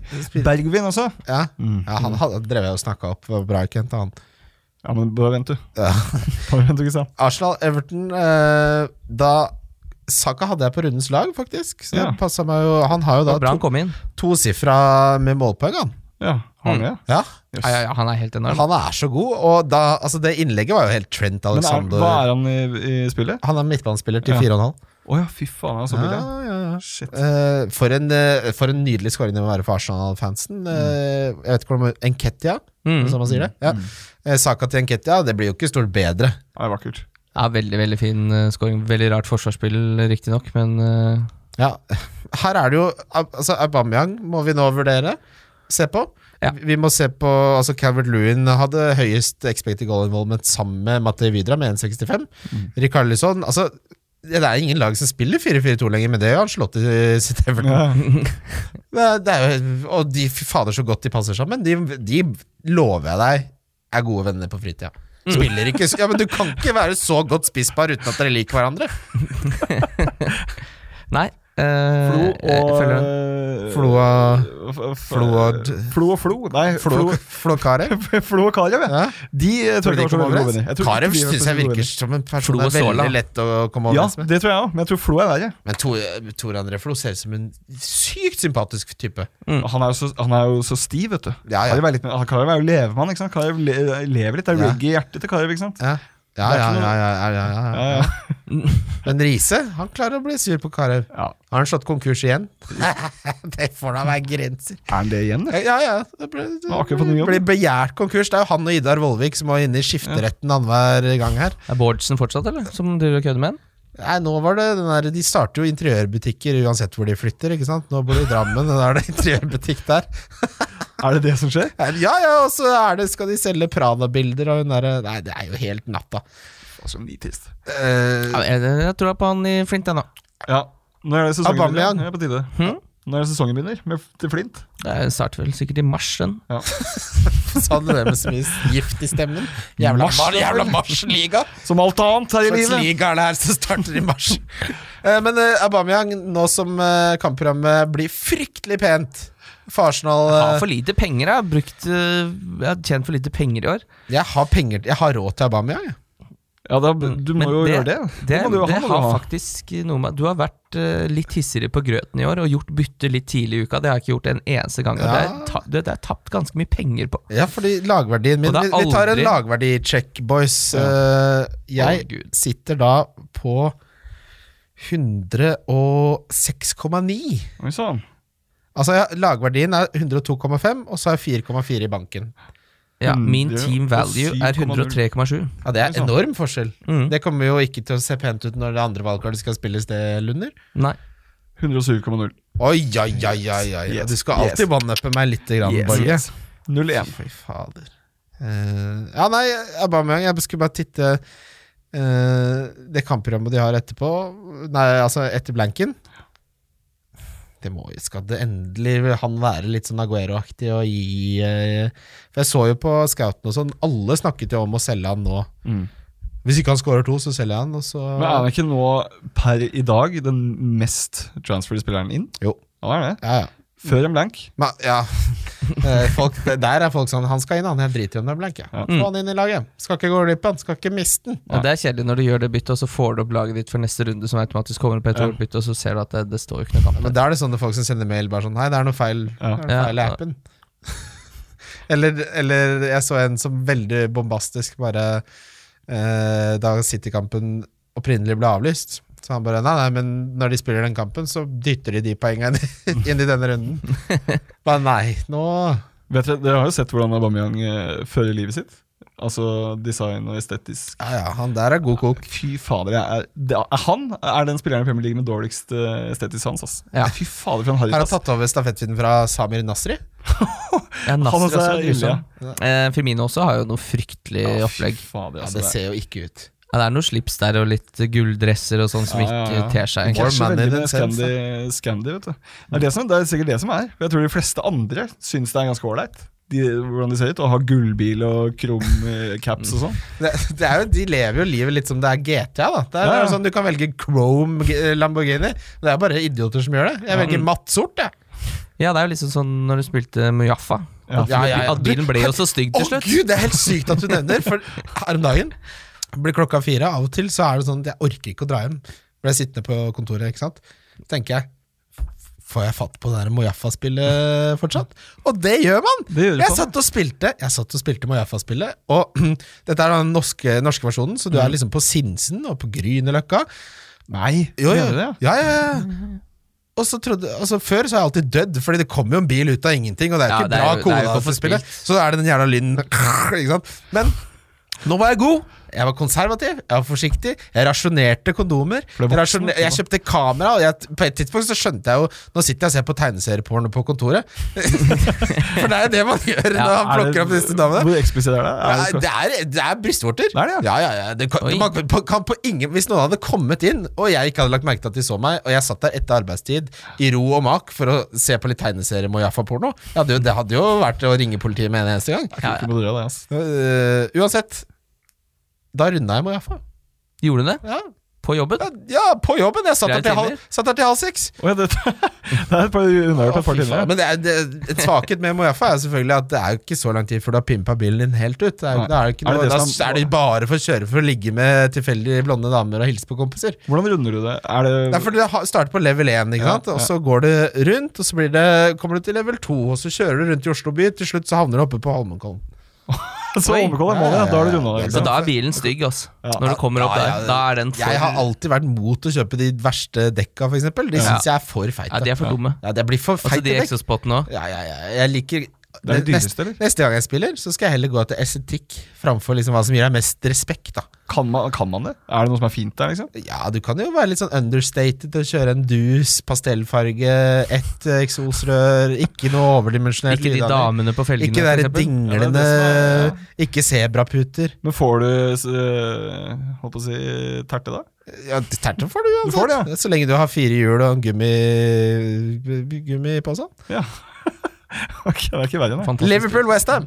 E: Bergvin også.
C: Ja,
D: Mm.
C: ja han hadde, drev jeg og snakka opp eh, Braikent, han.
E: Ja, men bare vent, du.
C: Ja.
E: Bare vent, du, Kristian.
C: Arsenal, Everton eh, Da Saka hadde jeg på rundens lag, faktisk. Så
E: Ja.
C: det passet meg jo Han har jo
D: Det
C: da
D: var bra han
C: to,
D: kom inn.
C: tosifra med målpoeng, han.
E: Ja, har vi det?
C: Ja,
D: Ja, ja, ja, han er helt enorm.
C: han er så god, og da Altså, det innlegget var jo helt Trent
E: Men er,
C: Alexander
E: hva er han i, i spillet?
C: Han er midtbanespiller til
E: Ja.
C: 4,5.
E: Å ja, fy faen, han er så
C: Ja,
E: billig. han.
C: ja, ja.
E: Shit.
C: Eh, for, en, eh, for en nydelig scoring det må være for Arsenal-fansen.
E: Mm.
C: Eh, jeg vet ikke hvordan Enketia,
D: Mm.
C: som man sier det. Ja. Eh, Saka til Enketia, det blir jo ikke stort bedre.
E: Det er vakkert.
D: Ja, veldig veldig fin eh, scoring. Veldig rart forsvarsspill, riktignok, men eh,
C: Ja, her er det jo altså Aubameyang må vi nå vurdere. Se på.
D: Ja.
C: Vi må se på altså Calvert Lewin hadde høyest expected goal involvement sammen med Matei Vidra med 1,65. Mm. Rikarlison altså, Det er ingen lag som spiller 4-4-2 lenger, men det har han slått i sitt Everton.
E: Ja.
C: Det er- det er jo- Og de fy fader så godt de passer sammen. De, de lover jeg deg er gode venner på fritida. Spiller ikke Ja, men du kan ikke være så godt spisspar uten at dere liker hverandre.
D: Nei. eh,
E: Flo
D: jeg
E: og
D: følger den.
C: Floa
E: F- f-
C: Floa-
E: Flo og Flo. Nei, Flo,
C: Flo- Flåkare.
E: Flo og Karev. jeg.
C: Ja.
E: De eh, tror jeg ikke var så veldig gode venner. Jeg sånn, tror
C: Karev
E: ikke de var så
C: syns jeg
E: veldig gode
C: virker som en person
D: Flo
C: det
D: og
C: er veldig
D: Sola.
C: lett å komme
E: venner. Ja,
C: overens med.
E: det tror jeg òg, men jeg tror Flo er verre.
C: Men Tor, Tor André Flo ser ut som en sykt sympatisk type.
E: Han er, jo så, han er jo så stiv, vet du.
C: Ja, ja.
E: Karev er, litt, ah, Karev er jo levemann. ikke sant? Karev le, lever litt. Det er
C: Ja.
E: reggae i hjertet til Karev. ikke sant?
C: Ja, ja,
E: Det er
C: ja,
E: ikke
C: ja,
E: noe-
C: ja, ja, ja,
E: Ja,
C: ja.
E: ja.
C: Men Riise han klarer å bli sur på Karev.
E: Ja.
C: Har han slått konkurs igjen? det får da være grenser.
E: Er han det igjen? det?
C: Ja, ja. Det blir, det
E: Han har akkurat fått ny jobb.
C: blir begjært konkurs. Det er jo han og Idar Vollvik som var inne i skifteretten annenhver gang her.
D: Er Bårdsen fortsatt, eller? Som driver og kødder med en?
C: Nei, nå var det den der, De starter jo interiørbutikker uansett hvor de flytter. ikke sant? Nå bor de i Drammen, og da er det interiørbutikk der.
E: Er det det som skjer?
C: Er- Ja, ja, og så er det, skal de selge Prada-bilder og hun derre Nei, det er jo helt natta.
E: Altså, nitist.
C: Uh,
D: Ja, jeg, jeg tror på han i Flint ennå.
E: Ja. Nå er det sesongen
C: Aubameyang.
E: begynner. Ja, på tide.
D: Hm?
E: Nå er det sesongen begynner, med, til Flint.
D: Det starter vel sikkert i mars, den.
C: sa du det med så mye gift i stemmen? Jævla
E: Mars,
C: Mar- jævla Mars-liga!
E: Som alt annet her i
C: Hva slags
E: livet.
C: liga er det her som starter i mars? Eh, men eh, Aubameyang, nå som eh, kampprogrammet blir fryktelig pent for Arsenal
D: Jeg
C: eh,
D: har for lite penger, jeg har brukt eh, Jeg har tjent for lite penger i år.
C: Jeg har penger Jeg har råd til Aubameyang, jeg.
E: Ja, da, du må
D: Men
E: jo gjøre det.
D: Det,
E: må du jo-
D: det
E: han må du
D: har
E: ha.
D: faktisk noe med Du har vært eh, litt hissigere på grøten i år og gjort bytte litt tidlig i uka. Det har jeg ikke gjort en eneste gang. og Det,
C: Ja.
D: er ta, det, det er tapt ganske mye penger på.
C: Ja, fordi lagverdien min
D: Og det
C: Vi
D: er
C: vi tar en
D: aldri-
C: lagverdi-check, boys. Eh,
D: Å,
C: jeg
D: Gud.
C: sitter da på 106,9.
E: Oi sånn. sann.
C: Altså, ja, Lagverdien er 102,5, og så er 4,4 i banken.
D: Ja, min
E: 107,0.
D: team value er 103,7.
C: Ja, Det er
E: sant.
C: enorm forskjell.
D: Sånn. Mm.
C: Det kommer jo ikke til å se pent ut når det andre valgkartet skal spilles, det, Lunder.
D: Nei.
E: 107,0.
C: Oi, oi, oi, oi, oi.
E: Yes,
C: Du skal alltid
E: yes.
C: one-uppe meg litt, grann, Borge.
E: 0-1.
C: Fy fader. Eh, ja, nei, Aubameyang Jeg skulle bare titte eh, det kampprogrammet de har etterpå. Nei, altså etter blanken. Det må jo Skal det endelig han være litt sånn Aguero-aktig og gi eh, For jeg så jo på scouten og sånn, alle snakket jo om å selge han nå.
E: Mm.
C: Hvis ikke han scorer to, så selger jeg han, og så
E: Men er han ikke nå per i dag den mest transferred spilleren inn?
C: Jo.
E: Han er det.
C: Ja, ja.
E: Før en blank.
C: Men, ja. Eh, folk, der er folk sånn Han skal inn, han. Jeg driter i om det er blank, jeg.
E: Ja. Mm.
C: Få han inn i laget. Skal ikke gå glipp av han. Skal ikke miste han.
D: Og Det er kjedelig når du gjør det byttet, og så får du opp laget ditt for neste runde, som automatisk kommer opp etter
E: Ja.
D: ja. bytte, og så ser du at det, det står jo ikke noe kamp
C: Men
D: der.
C: da er det sånne folk som sender mail bare sånn Hei, det er noe feil, det
E: Ja.
C: er noe feil i
D: Ja.
C: appen. eller, eller jeg så en som veldig bombastisk bare eh, Da City-kampen opprinnelig ble avlyst, så han bare Nei, nei, men når de spiller den kampen, så dytter de de poengene inn i denne runden. Bare nei, nå
E: Vet dere, dere har jo sett hvordan Aubameyang eh, fører livet sitt. Altså design og estetisk.
C: Ja ja, han der er god kok.
E: Fy fader, jeg er, det er, han er den spilleren i Premier League med dårligst eh, estetisk sans. Ass.
D: Ja.
E: Fy fader, for en
C: Har han
E: harrytass.
C: tatt over stafettpinnen fra Samir Nasri?
D: Ja,
E: Han
D: Nasser
E: også
D: også
E: er
D: er
E: ille,
D: grusom. Eh, Firmino også har jo noe fryktelig opplegg.
E: Fy fader,
C: Ja,
E: altså,
C: det
E: det er-
C: ser jo ikke ut.
D: Ja, det er noe slips der og litt gulldresser og sånn som
E: Ja, ja,
D: ikke
E: ja.
D: ter seg.
E: Det
D: egentlig.
E: er så
C: Warm man
E: veldig med
C: in the sense,
E: Scandi, Scandi, vet du. Det er, det, som, det er sikkert det som er. For Jeg tror de fleste andre syns det er ganske ålreit. de, hvordan de ser ut, og har gullbil og krum eh, caps og sånn.
C: Det, det er jo, de lever jo livet litt som det er GTA. da Det
E: Ja,
C: er,
E: ja.
C: det er sånn Du kan velge Chrome eh, Lamborghini. Det er bare idioter som gjør det. Jeg velger
E: Mm.
C: matt sort, jeg.
D: Ja, det er jo liksom sånn når du spilte Mujaffa.
E: Ja.
D: At,
C: Ja, ja, ja.
D: at bilen ble jo så stygg
C: Å
D: til slutt.
C: gud, det er helt sykt at du nevner, for her om dagen blir klokka fire. Av og til så er det sånn at jeg orker ikke å dra hjem. Blir jeg sittende på kontoret, ikke sant. Så tenker jeg Får jeg fatt på det der Mojaffa-spillet fortsatt? Og det gjør man!
E: Det gjør du
C: jeg
E: faen.
C: satt og spilte Jeg satt og spilte Mojaffa-spillet, og dette er den norske, norske versjonen, så du
E: Mm.
C: er liksom på Sinsen og på Grünerløkka.
E: Nei,
C: Jo, jo.
E: mener du det?
C: Ja, ja, ja. Og så trodde, altså Før så har jeg alltid dødd, Fordi det kommer jo en bil ut av ingenting. Og det er jo
D: Ja,
C: ikke
D: det er
C: bra
D: jo- det er jo
C: kode
D: ikke
C: for spillet.
D: forspilt.
C: Så da er det den jævla lyden ikke sant? Men nå var jeg god. Jeg var konservativ, jeg var forsiktig, jeg rasjonerte kondomer.
E: For det er
C: Jeg,
E: voksen,
C: rasjone- jeg kjøpte kamera, og jeg, på et tidspunkt så skjønte jeg jo Nå sitter jeg og ser på tegneserieporno på kontoret. for det er jo det man gjør når
D: Ja,
C: han plukker opp disse damene.
E: Hvor eksplisitt er det? Er
C: Nei,
E: det
C: det er, det er brystvorter.
E: Det er det,
C: ja. Ja, ja, Det kan,
D: Oi.
C: man på- kan på ingen, hvis noen hadde kommet inn, og jeg ikke hadde lagt merke til at de så meg, og jeg satt der etter arbeidstid i ro og mak for å se på litt tegneserie Mojaffa-porno ja, det, det hadde jo vært å ringe politiet med en eneste gang.
D: Ja,
E: ikke
D: ja.
E: noe drøy av det, ass.
C: Øh, uansett, da runda jeg Mojaffa.
D: Gjorde du det?
C: Ja,
D: På jobben?
C: ja, ja, på jobben. Jeg satt
D: Tre
C: der til
D: timer?
C: halv, satt der til halv seks.
E: Å, ja, det, det er et par unnagjort et par timer.
C: Men det er, det, et svakhet med Mojaffa er selvfølgelig at det er jo ikke så lang tid før du har pimpa bilen din helt ut. Det er,
E: Nei.
C: det er, jo ikke
E: Er det
C: noe,
E: det
C: da
E: som-
C: er det bare for å kjøre for å ligge med tilfeldige blonde damer og hilse på kompiser.
E: Hvordan runder du det? Er det,
C: Det er fordi det ha- starter på level 1, ikke
E: Ja,
C: sant? og
E: ja.
C: så går det rundt, og så blir det, kommer du til level 2, og så kjører du rundt i Oslo by, til slutt så havner du oppe på Holmenkollen.
E: så
D: Oi.
E: overkoll er målet, ja. Da har du runda det.
D: Så
E: Liksom.
D: da er bilen stygg, altså.
E: Ja.
D: Når du kommer opp
C: Ja, ja,
D: der. Da er den
C: Jeg har alltid vært mot å kjøpe de verste dekka, for eksempel. De
D: Ja.
C: syns jeg er for feite.
D: Ja, de er for dumme.
C: Ja, det blir for
D: Altså
C: feite
D: de
C: dekk.
D: exospottene òg.
C: Ja, ja, ja. Jeg liker
E: Det er det dyreste,
C: neste,
E: eller?
C: neste gang jeg spiller, så skal jeg heller gå etter estetikk framfor liksom hva som gir deg mest respekt. da
E: Kan, man, kan man det? Er det noe som er fint der, liksom?
C: Ja, du kan jo være litt sånn understated og kjøre en dus, pastellfarge, ett eh, eksosrør, ikke noe overdimensjonert
D: Ikke de
C: lydanlegg.
D: damene på felgene.
C: Ikke
D: for
C: de der
D: eksempel.
E: Ja,
C: dinglende
E: det er det
C: Ikke sebraputer.
E: Men får du eh, holdt på å si terte, da?
C: Ja, Terter får du
E: Du får det,
C: uansett. Så lenge du har fire hjul og en gummi gummipose.
E: Ok, Det er ikke verre enn det.
D: Fantastisk.
C: Liverpool-Westham!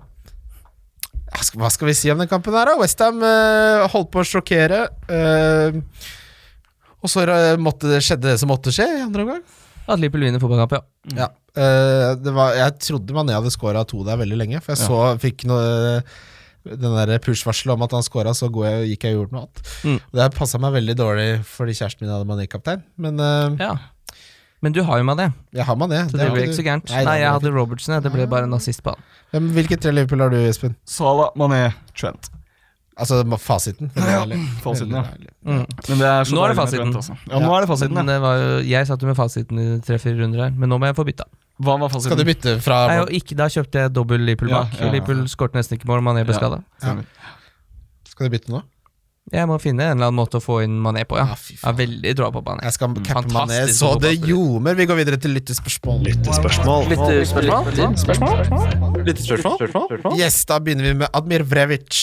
C: Hva skal vi si om den kampen her, da? Westham uh, holdt på å sjokkere. eh, og så eh, måtte det skjedde det som måtte skje i andre omgang.
D: At Liverpool vinner fotballkamp, ja.
C: Ja. eh, det var, jeg trodde Mané hadde scora to der veldig lenge, for jeg så fikk noe eh, den der push-varselet om at han scora, så går jeg, gikk jeg og gjorde noe annet.
D: Mm.
C: Og Det her passa meg veldig dårlig fordi kjæresten min hadde Mané-kaptein, men eh,
D: ja. Men du har jo meg det,
C: jeg har Mané.
D: så
C: det
D: det
C: har
D: ble
C: ikke
D: ikke
C: du.
D: så gærent.
C: Nei, det
D: Nei, jeg
C: var
D: hadde Robertson, jeg. Det ble bare en nazist på han.
C: Hvem- Hvilke tre Liverpool har du, Espen?
E: Salah, Mané, Trent.
C: Altså ma- fasiten. veldig
E: Ja,
C: ærlig.
E: fasiten, ja.
C: Veldig ærlig.
E: Men
D: Mm.
E: det er så
D: Nå
E: deilig
D: er det
E: med
D: fasiten.
E: Trent, altså. Ja, nå er det
D: Men
E: fasiten. Ja.
D: det var jo, jeg satt jo med fasiten i tre-fire runder her, men nå må jeg få bytta.
E: Hva var fasiten?
C: Skal du bytte fra
D: Nei, og ikke, da kjøpte jeg dobbel Liverpool
E: Ja,
D: bak.
E: ja, ja.
D: Liverpool skåret nesten ikke mål, Mané ble
E: Ja.
D: skada.
E: Stemmer.
C: Skal du bytte nå?
D: Jeg må finne en eller annen måte å få inn Mané på, ja.
C: Ja, fy
D: Jeg har veldig dra på Mané.
C: Jeg skal cappe Mané
D: Fantastisk
C: så det
D: fotballspiller.
C: ljomer. Vi går videre til lyttespørsmål. Yes, da begynner vi med Admir Vrevic,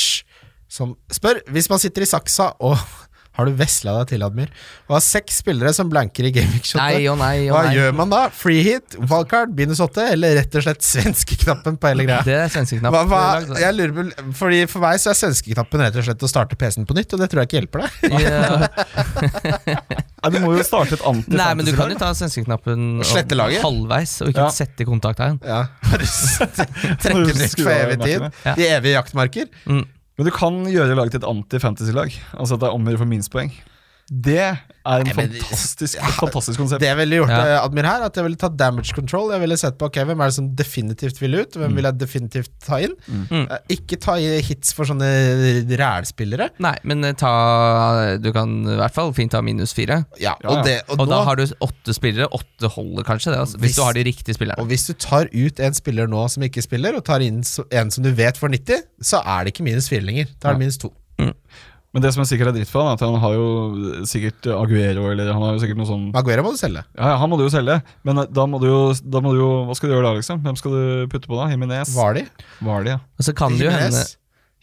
C: som spør Hvis man sitter i saksa og har du vesla deg til, Admir, og har seks spillere som blanker i
D: Nei
C: gaming-shotet,
D: og nei og
C: hva
D: nei.
C: gjør man da? Free hit, wildcard, minus åtte, eller rett og slett svenskeknappen på hele greia?
D: Det er svenskeknapp.
C: Hva, hva,
D: Det er
C: jeg lurer på, fordi For meg så er svenskeknappen rett og slett å starte PC-en på nytt, og det tror jeg ikke hjelper deg.
D: lagd- Ja.
E: Nei, du må jo starte et anti
D: Nei, men du kan jo ta svenskeknappen
C: Og slette laget.
D: halvveis, og ikke
E: Ja.
D: sette kontakttegn.
C: Ja, bare Trekke den ut for evig tid.
D: Ja.
C: De evige jaktmarker.
E: Men du kan gjøre laget til et anti-fantasy-lag. Altså at det er om å gjøre for minstpoeng. Det er en
C: men-
E: fantastisk, fantastisk konsept.
C: Det jeg ville gjort,
D: Ja.
C: eh, Admir, her at jeg ville tatt damage control. Jeg ville sett på ok, hvem er det som definitivt vil ut, hvem vil jeg definitivt ta inn.
D: Mm.
C: Eh, Ikke ta i hits for sånne rælspillere.
D: Nei, men eh, ta Du kan i hvert fall fint ta minus fire.
C: Ja,
E: Ja, ja.
C: og, det, og,
D: Og,
C: nå,
D: da har du åtte spillere. Åtte holder kanskje, det, altså, hvis,
C: Hvis-
D: du har de riktige spillerne.
C: og hvis du tar ut en spiller nå som ikke spiller, og tar inn så- en som du vet får 90, så er det ikke minus 4 lenger. Da er det minus 2.
E: Men det som er sikkert er dritt for han, er at han har jo sikkert Aguero eller han har jo sikkert noe sånn
C: Maguera må du selge.
E: Ja, ja, han må du jo selge, men da må du jo, da må du jo Hva skal du gjøre da, liksom? Hvem skal du putte på da? Jiminez?
C: Var de?
E: Var det, ja.
D: Og så kan det jo hende
C: Jimenez.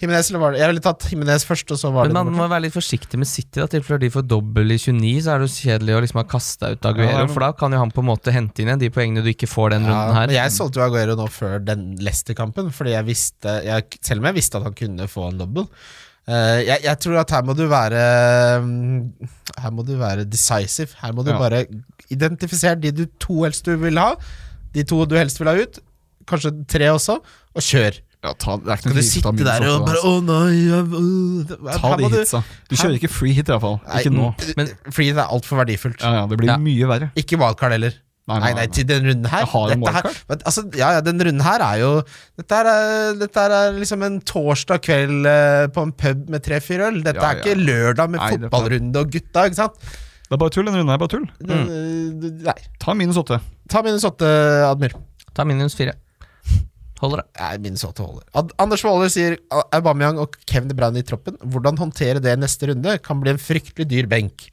C: Jimenez eller var det Jeg ville tatt Jimenez først, og så var
D: Men
C: det
D: man
C: nummer
D: må være litt forsiktig med City, da, tilfelle de får dobbel i 29, så er det jo kjedelig å liksom ha kasta ut
E: Ja,
D: Aguero,
E: det er-
D: for da kan jo han på en måte hente inn igjen de poengene du ikke får den
C: to.
D: runden
C: Ja,
D: her.
C: men jeg solgte jo Aguero nå før den Leicester-kampen, fordi jeg visste jeg, Selv om jeg visste at han kunne få en dobbel. eh, jeg, jeg tror at her må du være mm, Her må du være decisive. Her må du
E: Ja.
C: bare identifisere de du to helst du vil ha, de to du helst vil ha ut, kanskje tre også, og kjør.
E: Ja, ta, det er ikke
C: Kan
E: noe
C: du
E: vits å ta
C: sitte
E: minus
C: der
E: åtte,
C: og bare
E: altså.
C: Å nei jeg, øh,
E: Ta
C: her
E: de
C: må du-
E: hitsa. Du kjører ikke free hit, iallfall. Ikke nå.
C: Nei, Mm. Fordi det er altfor verdifullt.
E: Ja, ja, det blir
D: Ja.
E: mye verre.
C: Ikke wildcard heller. Nei, nei, til den runden her.
E: Ah, Jeg har en
C: dette her
E: wildcard.
C: men, altså, ja, ja, den runden her er jo Dette her er, dette her er liksom en torsdag kveld eh, på en pub med tre-fire øl. Dette
E: Ja,
C: er ikke lørdag med
E: Nei, det er klart.
C: fotballrunde og gutta, ikke sant?
E: Det er bare tull. Den runden her er bare tull.
C: Den, eh, Nei.
E: Ta minus åtte.
C: Ta minus åtte, Admir.
D: Ta minus fire. Holder det.
C: Nei, minus åtte holder. Ad Anders Waaler sier "A- Aubameyang og Kevin De Bruyne i troppen. Hvordan håndtere det neste runde kan bli en fryktelig dyr benk.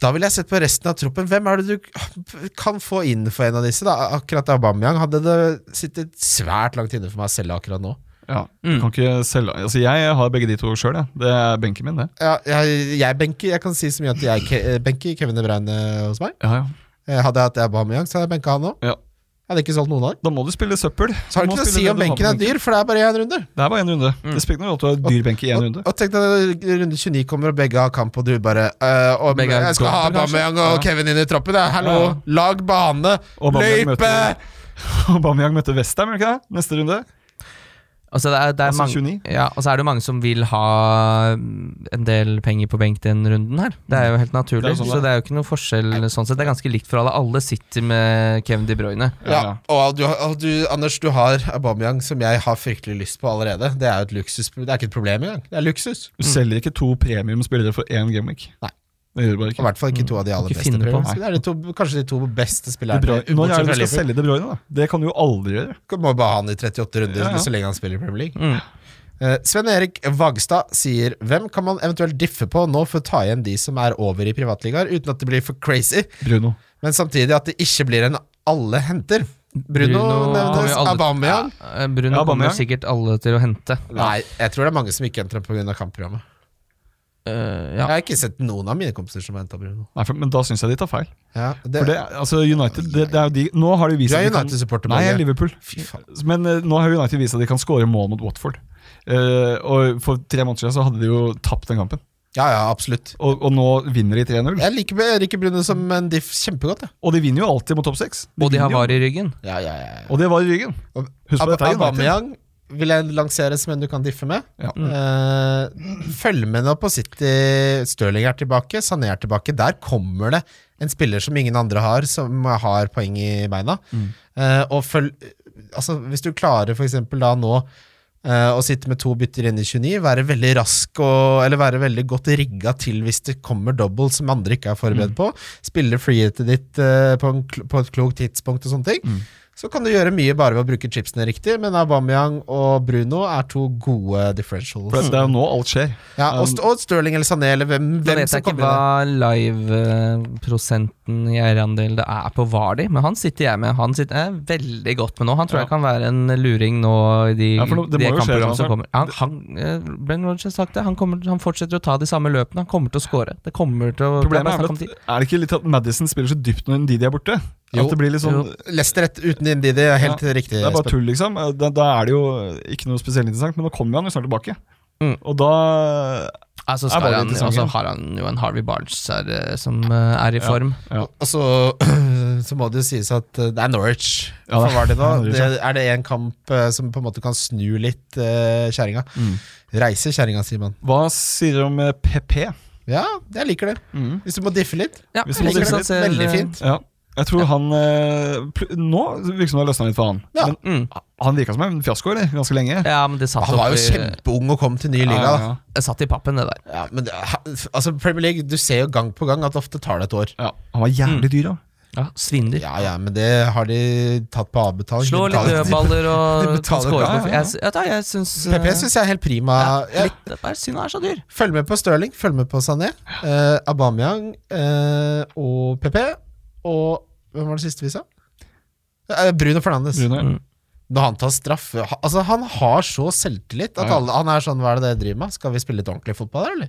C: Da vil jeg sett på resten av troppen. Hvem er det du kan få inn for en av disse? da? Akkurat Aubameyang hadde det sittet svært langt inne for meg selv akkurat nå.
E: Ja, du
C: Mm.
E: kan ikke selge Altså, jeg har begge de to sjøl, jeg. Det er benken min, det.
C: Ja, jeg, jeg benker, jeg kan si så mye at jeg ke benker Kevin De Bruyne hos meg.
E: Ja, ja.
C: Eh, Hadde jeg hatt Aubameyang, så hadde jeg benka han òg.
E: Ja.
C: Jeg hadde ikke solgt noen av dem.
E: Da må du spille søppel.
C: Så har
E: Du må
C: det ikke noe å
E: spille
C: si
E: det
C: om
E: du har på
C: benken er dyr, Mm. for det er bare én runde.
E: Det er bare én runde. Det spiller ingen rolle at du har dyr benk i én runde.
C: Og tenk deg runde 29 kommer, og begge har kamp, og du bare øh, og
D: Begge er
C: Jeg skal
D: gode,
C: ha
D: kanskje?
C: Aubameyang og
E: Ja.
C: Kevin inn i troppen. Ja. Hallo,
E: Ja, ja.
C: lag bane,
E: Og Aubameyang
C: løype!
E: møter- Aubameyang møtte Westham, ikke det? Neste runde.
D: Altså, det er, det er
E: Altså
D: mange,
E: 29.
D: Ja, og så er det jo mange som vil ha mm, en del penger på benk den runden her. Det er jo helt naturlig,
E: Det er sånn det
D: så
E: er.
D: det er jo ikke noe forskjell sånn sett. Det er ganske likt for alle. Alle sitter med Kevin De Bruyne.
C: Ja,
E: ja.
C: og du, og du, Anders, du har Aubameyang, som jeg har fryktelig lyst på allerede. Det er jo et luksus, det er ikke et problem engang. Det er luksus.
E: Du selger ikke to premiumspillere for én gameweek.
C: Mm. Nei.
E: Det gjør du bare
C: Og I
E: ikke.
C: hvert fall ikke to av de aller
D: ikke
C: beste.
D: finne på.
C: brødrene. Så Det er de to, kanskje de to beste
E: De
C: spillerne.
E: Bruyne, når er det liksom du
C: bortsett fra
E: skal selge De Bruyne? da? Det kan du jo aldri gjøre.
C: Liverpool. Må bare ha han i 38 runder
E: Ja, ja.
C: så lenge han spiller i Premier League.
D: Mm.
C: Eh, Sven-Erik Vagstad sier Hvem kan man eventuelt diffe på nå for å ta igjen de som er over i privatligaer, uten at det blir for crazy?
E: Bruno.
C: Men samtidig at det ikke blir en alle henter. Bruno,
D: kommer
C: nevnes,
D: jo aldri-
C: Aubameyang
D: Ja, Eh, Bruno
E: Ja,
D: kommer jo
E: Aubameyang.
D: sikkert alle til å hente.
C: Nei, jeg tror det er mange som ikke henter ham pga. kampprogrammet.
D: Eh,
C: Jeg
D: ja.
C: har ikke sett noen av mine kompiser som har henta Bruno.
E: Nei, for, men da syns jeg de tar feil.
C: Ja, det,
E: For det, altså United, det, det er jo de Nå har de
C: du
E: vist
C: er
E: at de kan-
C: United-supporter,
E: Nei, jeg er
C: Børge.
E: Liverpool.
C: Fy faen.
E: Men eh, nå har United vist at de kan skåre mål mot Watford. Eh, og For tre måneder siden så hadde de jo tapt den kampen,
C: Ja, ja, absolutt.
E: og, og nå vinner de 3-0.
C: Jeg liker Erik Bruno som en diff kjempegodt. jeg.
E: Og de vinner jo alltid mot topp seks. De
D: Og de har
E: vinner jo.
D: VAR i ryggen.
C: Ja, ja, ja, ja.
E: Og det var i ryggen. Husk på
C: Ab
E: dette er United.
C: Aubameyang vil jeg lansere som en du kan diffe med.
E: Ja.
C: Eh, følg med nå på City. Stirling er tilbake, Sané er tilbake. Der kommer det en spiller som ingen andre har, som har poeng i beina.
E: Mm.
C: Eh, og følg Altså, hvis du klarer for eksempel da nå eh, å sitte med to bytter inn i 29, være veldig rask og Eller være veldig godt rigga til hvis det kommer double som andre ikke er forberedt
E: Mm.
C: på, spille freeheatet ditt eh, på, en, kl- på et klokt tidspunkt og sånne ting,
E: Mm.
C: så kan du gjøre mye bare ved å bruke chipsene riktig, men Aubameyang og Bruno er to gode differentials.
E: For det Mm. er jo nå alt skjer.
C: Ja, og, St- og Stirling eller Sané eller hvem,
D: Nå
C: hvem
D: vet
C: som
D: jeg ikke
C: kommer inn.
D: hva live-prosenten i eierandel det er på Vardi, men han sitter jeg med. Han sitter jeg veldig godt med nå. Han tror
E: Ja.
D: jeg kan være en luring nå i de,
E: Ja, for nå- det
D: de
E: må jo skje,
D: kampprogrammene som
E: Transfer.
D: kommer. Han, han, eh, ben Rodgers har sagt det. Han, kommer, han fortsetter å ta de samme løpene. Han kommer til å score. Det kommer til å
E: Problemet
D: det
E: er vel
D: bare snakk om
E: at
D: tid.
E: er det ikke litt at Madison spiller så dypt når Ndidi er borte?
C: Jo.
E: At det blir litt sånn
D: Jo.
C: Leicester rett uten Indidi er helt riktig.
E: Det er bare
C: Espen.
E: tull, liksom. Da, da er det jo ikke noe spesielt interessant, men nå kommer han jo snart tilbake.
D: Mm.
E: Og da
D: Altså,
E: er bare
D: skal han,
E: interessant.
D: og så har han jo en Harvey Barnes her, eh, som eh, er i form.
E: ja.
C: Og så, så må det jo sies at eh, det er Norwich.
E: Ja,
C: Hva
E: det-
C: var det nå?
E: det er Norwich,
C: Det,
E: ja.
C: er det en kamp eh, som på en måte kan snu litt uh, kjerringa?
E: Mm.
C: Reise kjerringa, sier man.
E: Hva sier du om eh, PP?
C: Ja, jeg liker det. Hvis du må diffe litt.
D: Ja,
E: Mm.
D: Eh,
E: Hvis
D: jeg
E: man
D: liker
E: ser
D: det.
E: litt
D: Ser-
C: veldig fint.
E: Ja. Jeg tror han eh, pl- Nå virker det som det har løsna litt for han.
C: Ja.
E: Men
D: Mm.
E: han virka som en fiasko, eller? Ganske lenge.
D: Ja, men det satt,
C: Han var
D: opp
C: jo
D: i,
C: kjempeung og kom til ny liga.
E: ja.
C: Da.
D: det satt i pappen, det der.
C: Ja, men det, ha- altså Premier League, du ser jo gang på gang at det ofte tar det et år.
E: Ja. Han var
D: Mm.
E: jævlig dyr, da.
D: Ja, Svindel.
C: Ja, ja, men det har de tatt på avbetaling.
D: Slå
C: De
D: litt
C: betaler-
D: dødballer og
C: de betaler
D: score.
E: bra, ja, ja.
D: Jeg, sy- vet du hva, jeg syns
C: PP syns jeg er helt prima.
D: ja,
C: Jeg-
D: litt, det er bare synd han er så dyr.
C: Følg med på Stirling, følg med på Sané, eh, Aubameyang eh, og PP. Og hvem var det siste vi sa? Eh, Bruno Fernandes.
E: Rune.
D: Mm.
C: Når han tar straffe ha- Altså, han har så selvtillit at
E: Ja.
C: alle, han er sånn Hva er det dere driver med? Skal vi spille litt ordentlig fotball, her, eller?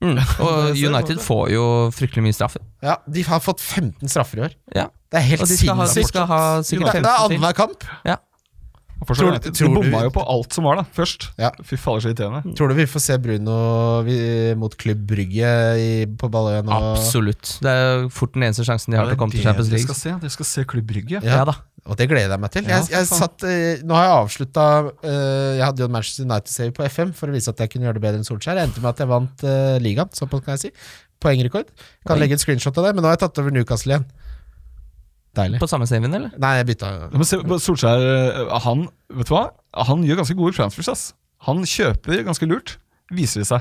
D: Mm. Og United får jo fryktelig mye straffer.
C: Ja, de har fått 15 straffer i år.
D: Ja.
C: Det er helt
D: Og de skal ha, de
C: sinnssykt.
D: skal ha sikkert
C: Det er
D: 15 til.
C: annenhver kamp.
E: Og fortsatt
C: Tror-
E: United.
C: tror
E: de
C: du-
E: bomma jo på alt som var, da, først.
C: Ja.
E: Fy fader, så irriterende.
C: Tror du vi får se Bruno vi- mot Klubb Brygge i, på Balløya nå?
D: Absolutt. Det er fort den eneste sjansen de har til å komme til Champions
E: dere
D: League.
E: skal se. Dere skal se Klubb Brygge.
C: Ja.
D: Ja da.
C: Og det gleder jeg meg til.
E: Ja,
C: Jeg, jeg
E: for faen.
C: satt, eh, nå har jeg avslutta eh, Jeg hadde jo en Manchester United-save på FM for å vise at jeg kunne gjøre det bedre enn Solskjær. Jeg endte med at jeg vant eh, ligaen, såpass kan jeg si. Poengrekord. Kan
D: Oi.
C: legge et screenshot av det, men nå har jeg tatt over Newcastle igjen. Deilig.
D: På samme saven, eller?
C: Nei, jeg bytta
E: Ja, Men se, på Solskjær eh, han, vet du hva? han gjør ganske gode transfers. Ass. Han kjøper ganske lurt, viser det seg.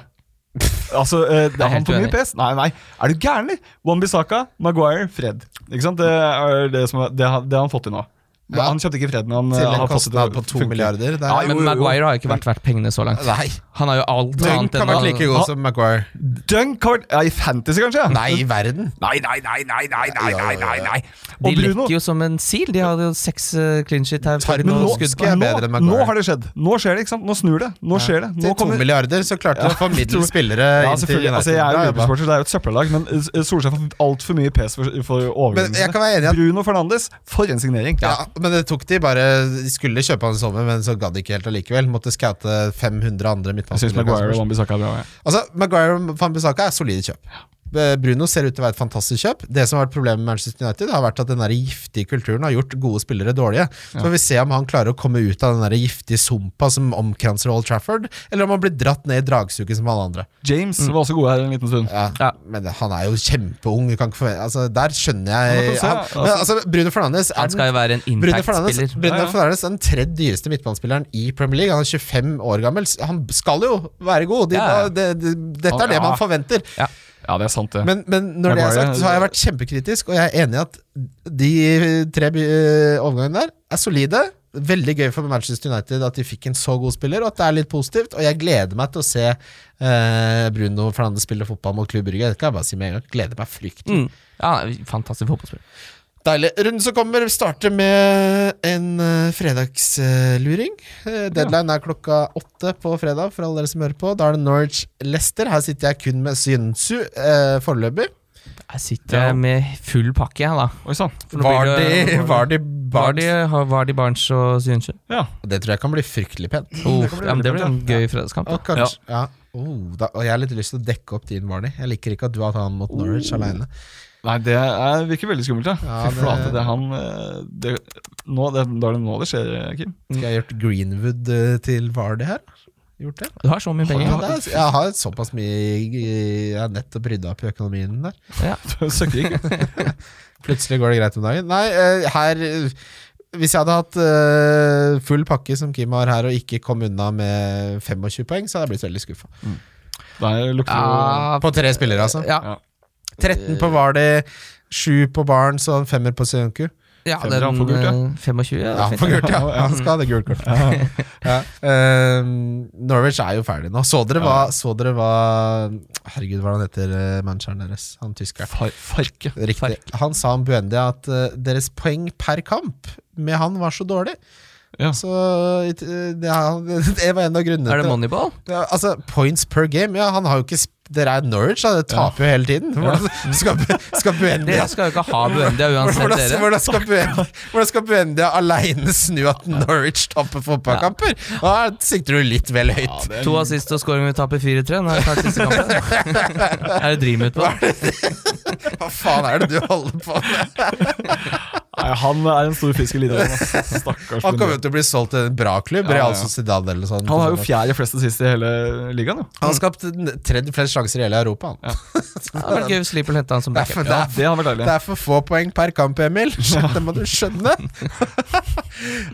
E: Altså, eh, det
D: er
E: er han
D: helt
E: for mye
D: uenig.
E: pes? Nei, nei. Er du gæren, eller? Wan-Bissaka, Maguire, Fred. Ikke sant? Det er det, som, er- det, har, det har han fått til nå. Men
C: Ja.
E: Han kjøpte ikke Fred, men han eh,
C: til en
E: har fått det til å
C: kostnad på to
E: funke.
C: milliarder. Det
E: Ja, jo,
C: er,
E: jo, jo.
D: Men Maguire har jo ikke vært verdt pengene så langt.
C: nei.
D: Han har jo alt
C: Dunk
D: annet
C: har vært
D: enn
C: like god som Maguire.
E: Dunk har vært ja, I Fantasy, kanskje? ja.
C: Nei, i verden.
E: Nei, nei, nei, nei, nei, nei, nei, nei, nei.
D: De
E: Og Bruno,
D: lekker jo som en sil. De hadde jo seks uh, clean shit her.
C: Tarmen
D: Nå-
E: men nå,
C: Skudd skal jeg bedre enn
E: nå,
C: Maguire.
E: nå har det skjedd. Nå skjer det, ikke sant? Nå snur det. Nå skjer det.
C: Til
E: Nå
C: to
E: kommer
C: milliarder så klarte de å få middels spillere
E: Ja,
C: inn til
E: selvfølgelig. Altså, jeg
C: United.
E: er
C: Bra
E: jo
C: jobba.
E: Liverpool-supporter, det er jo et søppellag, men eh, Solskjær får altfor mye pes for, for
C: Men jeg
E: overgangene.
C: kan være enig i at
E: Bruno Fernandes, for en signering!
C: Ja, men det tok de bare De skulle kjøpe han i sommer, men så gadd de ikke helt allikevel. Måtte scoute 500 andre
E: Jeg syns Maguire og
C: midtbanespillere.
E: Wambisaka er bra. Ja.
C: Altså, Maguire og Van Bissaka er solide kjøp. Eh, Bruno ser ut til å være et fantastisk kjøp. Det som har vært Problemet med Manchester United, har vært at den der giftige kulturen har gjort gode spillere dårlige. Så får vi se om han klarer å komme ut av den der giftige sumpa som omkranser Old Trafford, eller om han blir dratt ned i dragsuget som alle andre.
E: James var også god her en liten stund.
C: Mm. Ja,
D: Ja.
C: Men han er jo kjempeung. Du kan ikke forvente altså, Der skjønner jeg
E: Ja, men få se,
C: han, men, altså, Bruno Fernandes er
D: Han
C: den
D: skal jo være en
C: Bruno Fernandes,
D: impact-spiller.
E: Ja,
C: Bruno
E: ja.
C: Fernandes er den tredje dyreste midtbanespilleren i Premier League. Han er 25 år gammel. S- Han skal jo være god. De,
D: Ja, ja.
C: det, det, dette er det
E: Ja.
C: man forventer.
E: Ja, det er sant, det.
C: Men, men når det er
E: Maguire-
C: sagt, så har jeg vært kjempekritisk, og jeg er enig i at de eh, tre by- overgangene der er solide. Veldig gøy for Manchester United at de fikk en så god spiller, og at det er litt positivt. Og jeg gleder meg til å se eh, Bruno Fernandes spille fotball mot Klubb Brygge. Det kan jeg bare si med en gang. Gleder meg fryktelig.
D: Mm. Ja, fantastisk fotballspiller.
C: Deilig. Runden som kommer, starter med en eh, fredagsluring. Eh, deadline er klokka åtte på fredag, for alle dere som hører på. Da er det Norwich Leicester. Her sitter jeg kun med Synsu eh, foreløpig.
D: Jeg sitter med full pakke, jeg, da.
E: Oi sånn. sann.
D: For nå blir det-
C: de eh,
D: Var de, har- var de Barnes og Synsjø?
E: Ja.
C: Det tror jeg kan bli fryktelig pent.
D: Oh,
E: kan bli
D: ja, men det
E: veldig
D: blir en gøy fredagskamp.
C: Og
D: da. Ja.
C: kanskje ja. Oh, da, Og jeg har litt lyst til å dekke opp din, Barney. Jeg liker ikke at du har tatt han mot Norwich alene.
E: Nei, det er, virker veldig skummelt, ja.
C: Ja,
E: Fy
C: det-
E: flate, det er han eh, det, nå, det, Da er det nå det skjer, eh, Kim.
C: Skal jeg gjort Greenwood eh, til Vardy her? Gjort det?
D: Du har så mye
C: Ja,
D: penger.
C: det er, jeg har såpass mye Jeg har nettopp rydda opp i økonomien der.
E: Du søkker ikke.
C: Plutselig går det greit om dagen. Nei, eh, her eh, Hvis jeg hadde hatt eh, full pakke som Kim har her, og ikke kom unna med 25 poeng, så hadde jeg blitt veldig skuffa.
E: Der lukter det
D: Ja,
C: På tre spillere, altså.
D: ja,
C: 13 på Vardy, 7 på Barnes og en femmer på Sionku.
D: ja,
E: Femmer,
D: den
E: han får gult, ja.
D: eh, 25 ja, det er
C: Ja,
D: fint.
C: for gult, ja. ja. Han skal ha det gult kort. Ja. Eh, Norwich er jo ferdig nå. Så dere hva, så dere hva Herregud, hva er han heter eh, manageren deres? Han tyskeren.
E: Far, Farke.
C: Riktig. Han sa om Buendia at eh, deres poeng per kamp med han var så dårlig.
E: Ja.
C: Så eh, det, er- det var en av grunnene
D: Er det
C: til
D: Moneyball?
C: ja, Altså, points per game Ja, han har jo ikke sp- Dere er Norwich, da. Dere taper jo hele tiden. Hvordan skal, Bu- skal Buendia
D: Dere skal jo ikke ha Buendia uansett,
C: hvordan,
D: dere.
C: hvordan skal Buendia, hvordan skal Buendia aleine snu at Norwich taper fotballkamper? Da sikter du litt vel høyt.
D: To assist og scoring, vi taper 4-3. Nå er det klart siste kampen. Er det dream ut på?
C: Hva faen er det du holder på med?
E: Nei, han er en stor fisk i Lidaland. Stakkars.
C: Han kommer jo til å bli solgt til en bra klubb,
E: Ja, ja, ja.
C: Real Sociedad eller sånn.
E: han har jo fjerde flest assist i hele ligaen, jo.
C: Han har skapt den tredje flest sjanser i hele Europa. Han.
D: Det hadde vært gøy hvis Liverpool hentet han som
C: Det, er for,
D: backup.
C: det,
E: Ja, det
C: er,
E: hadde vært deilig.
C: det er for få poeng per kamp, Emil. Det må du skjønne.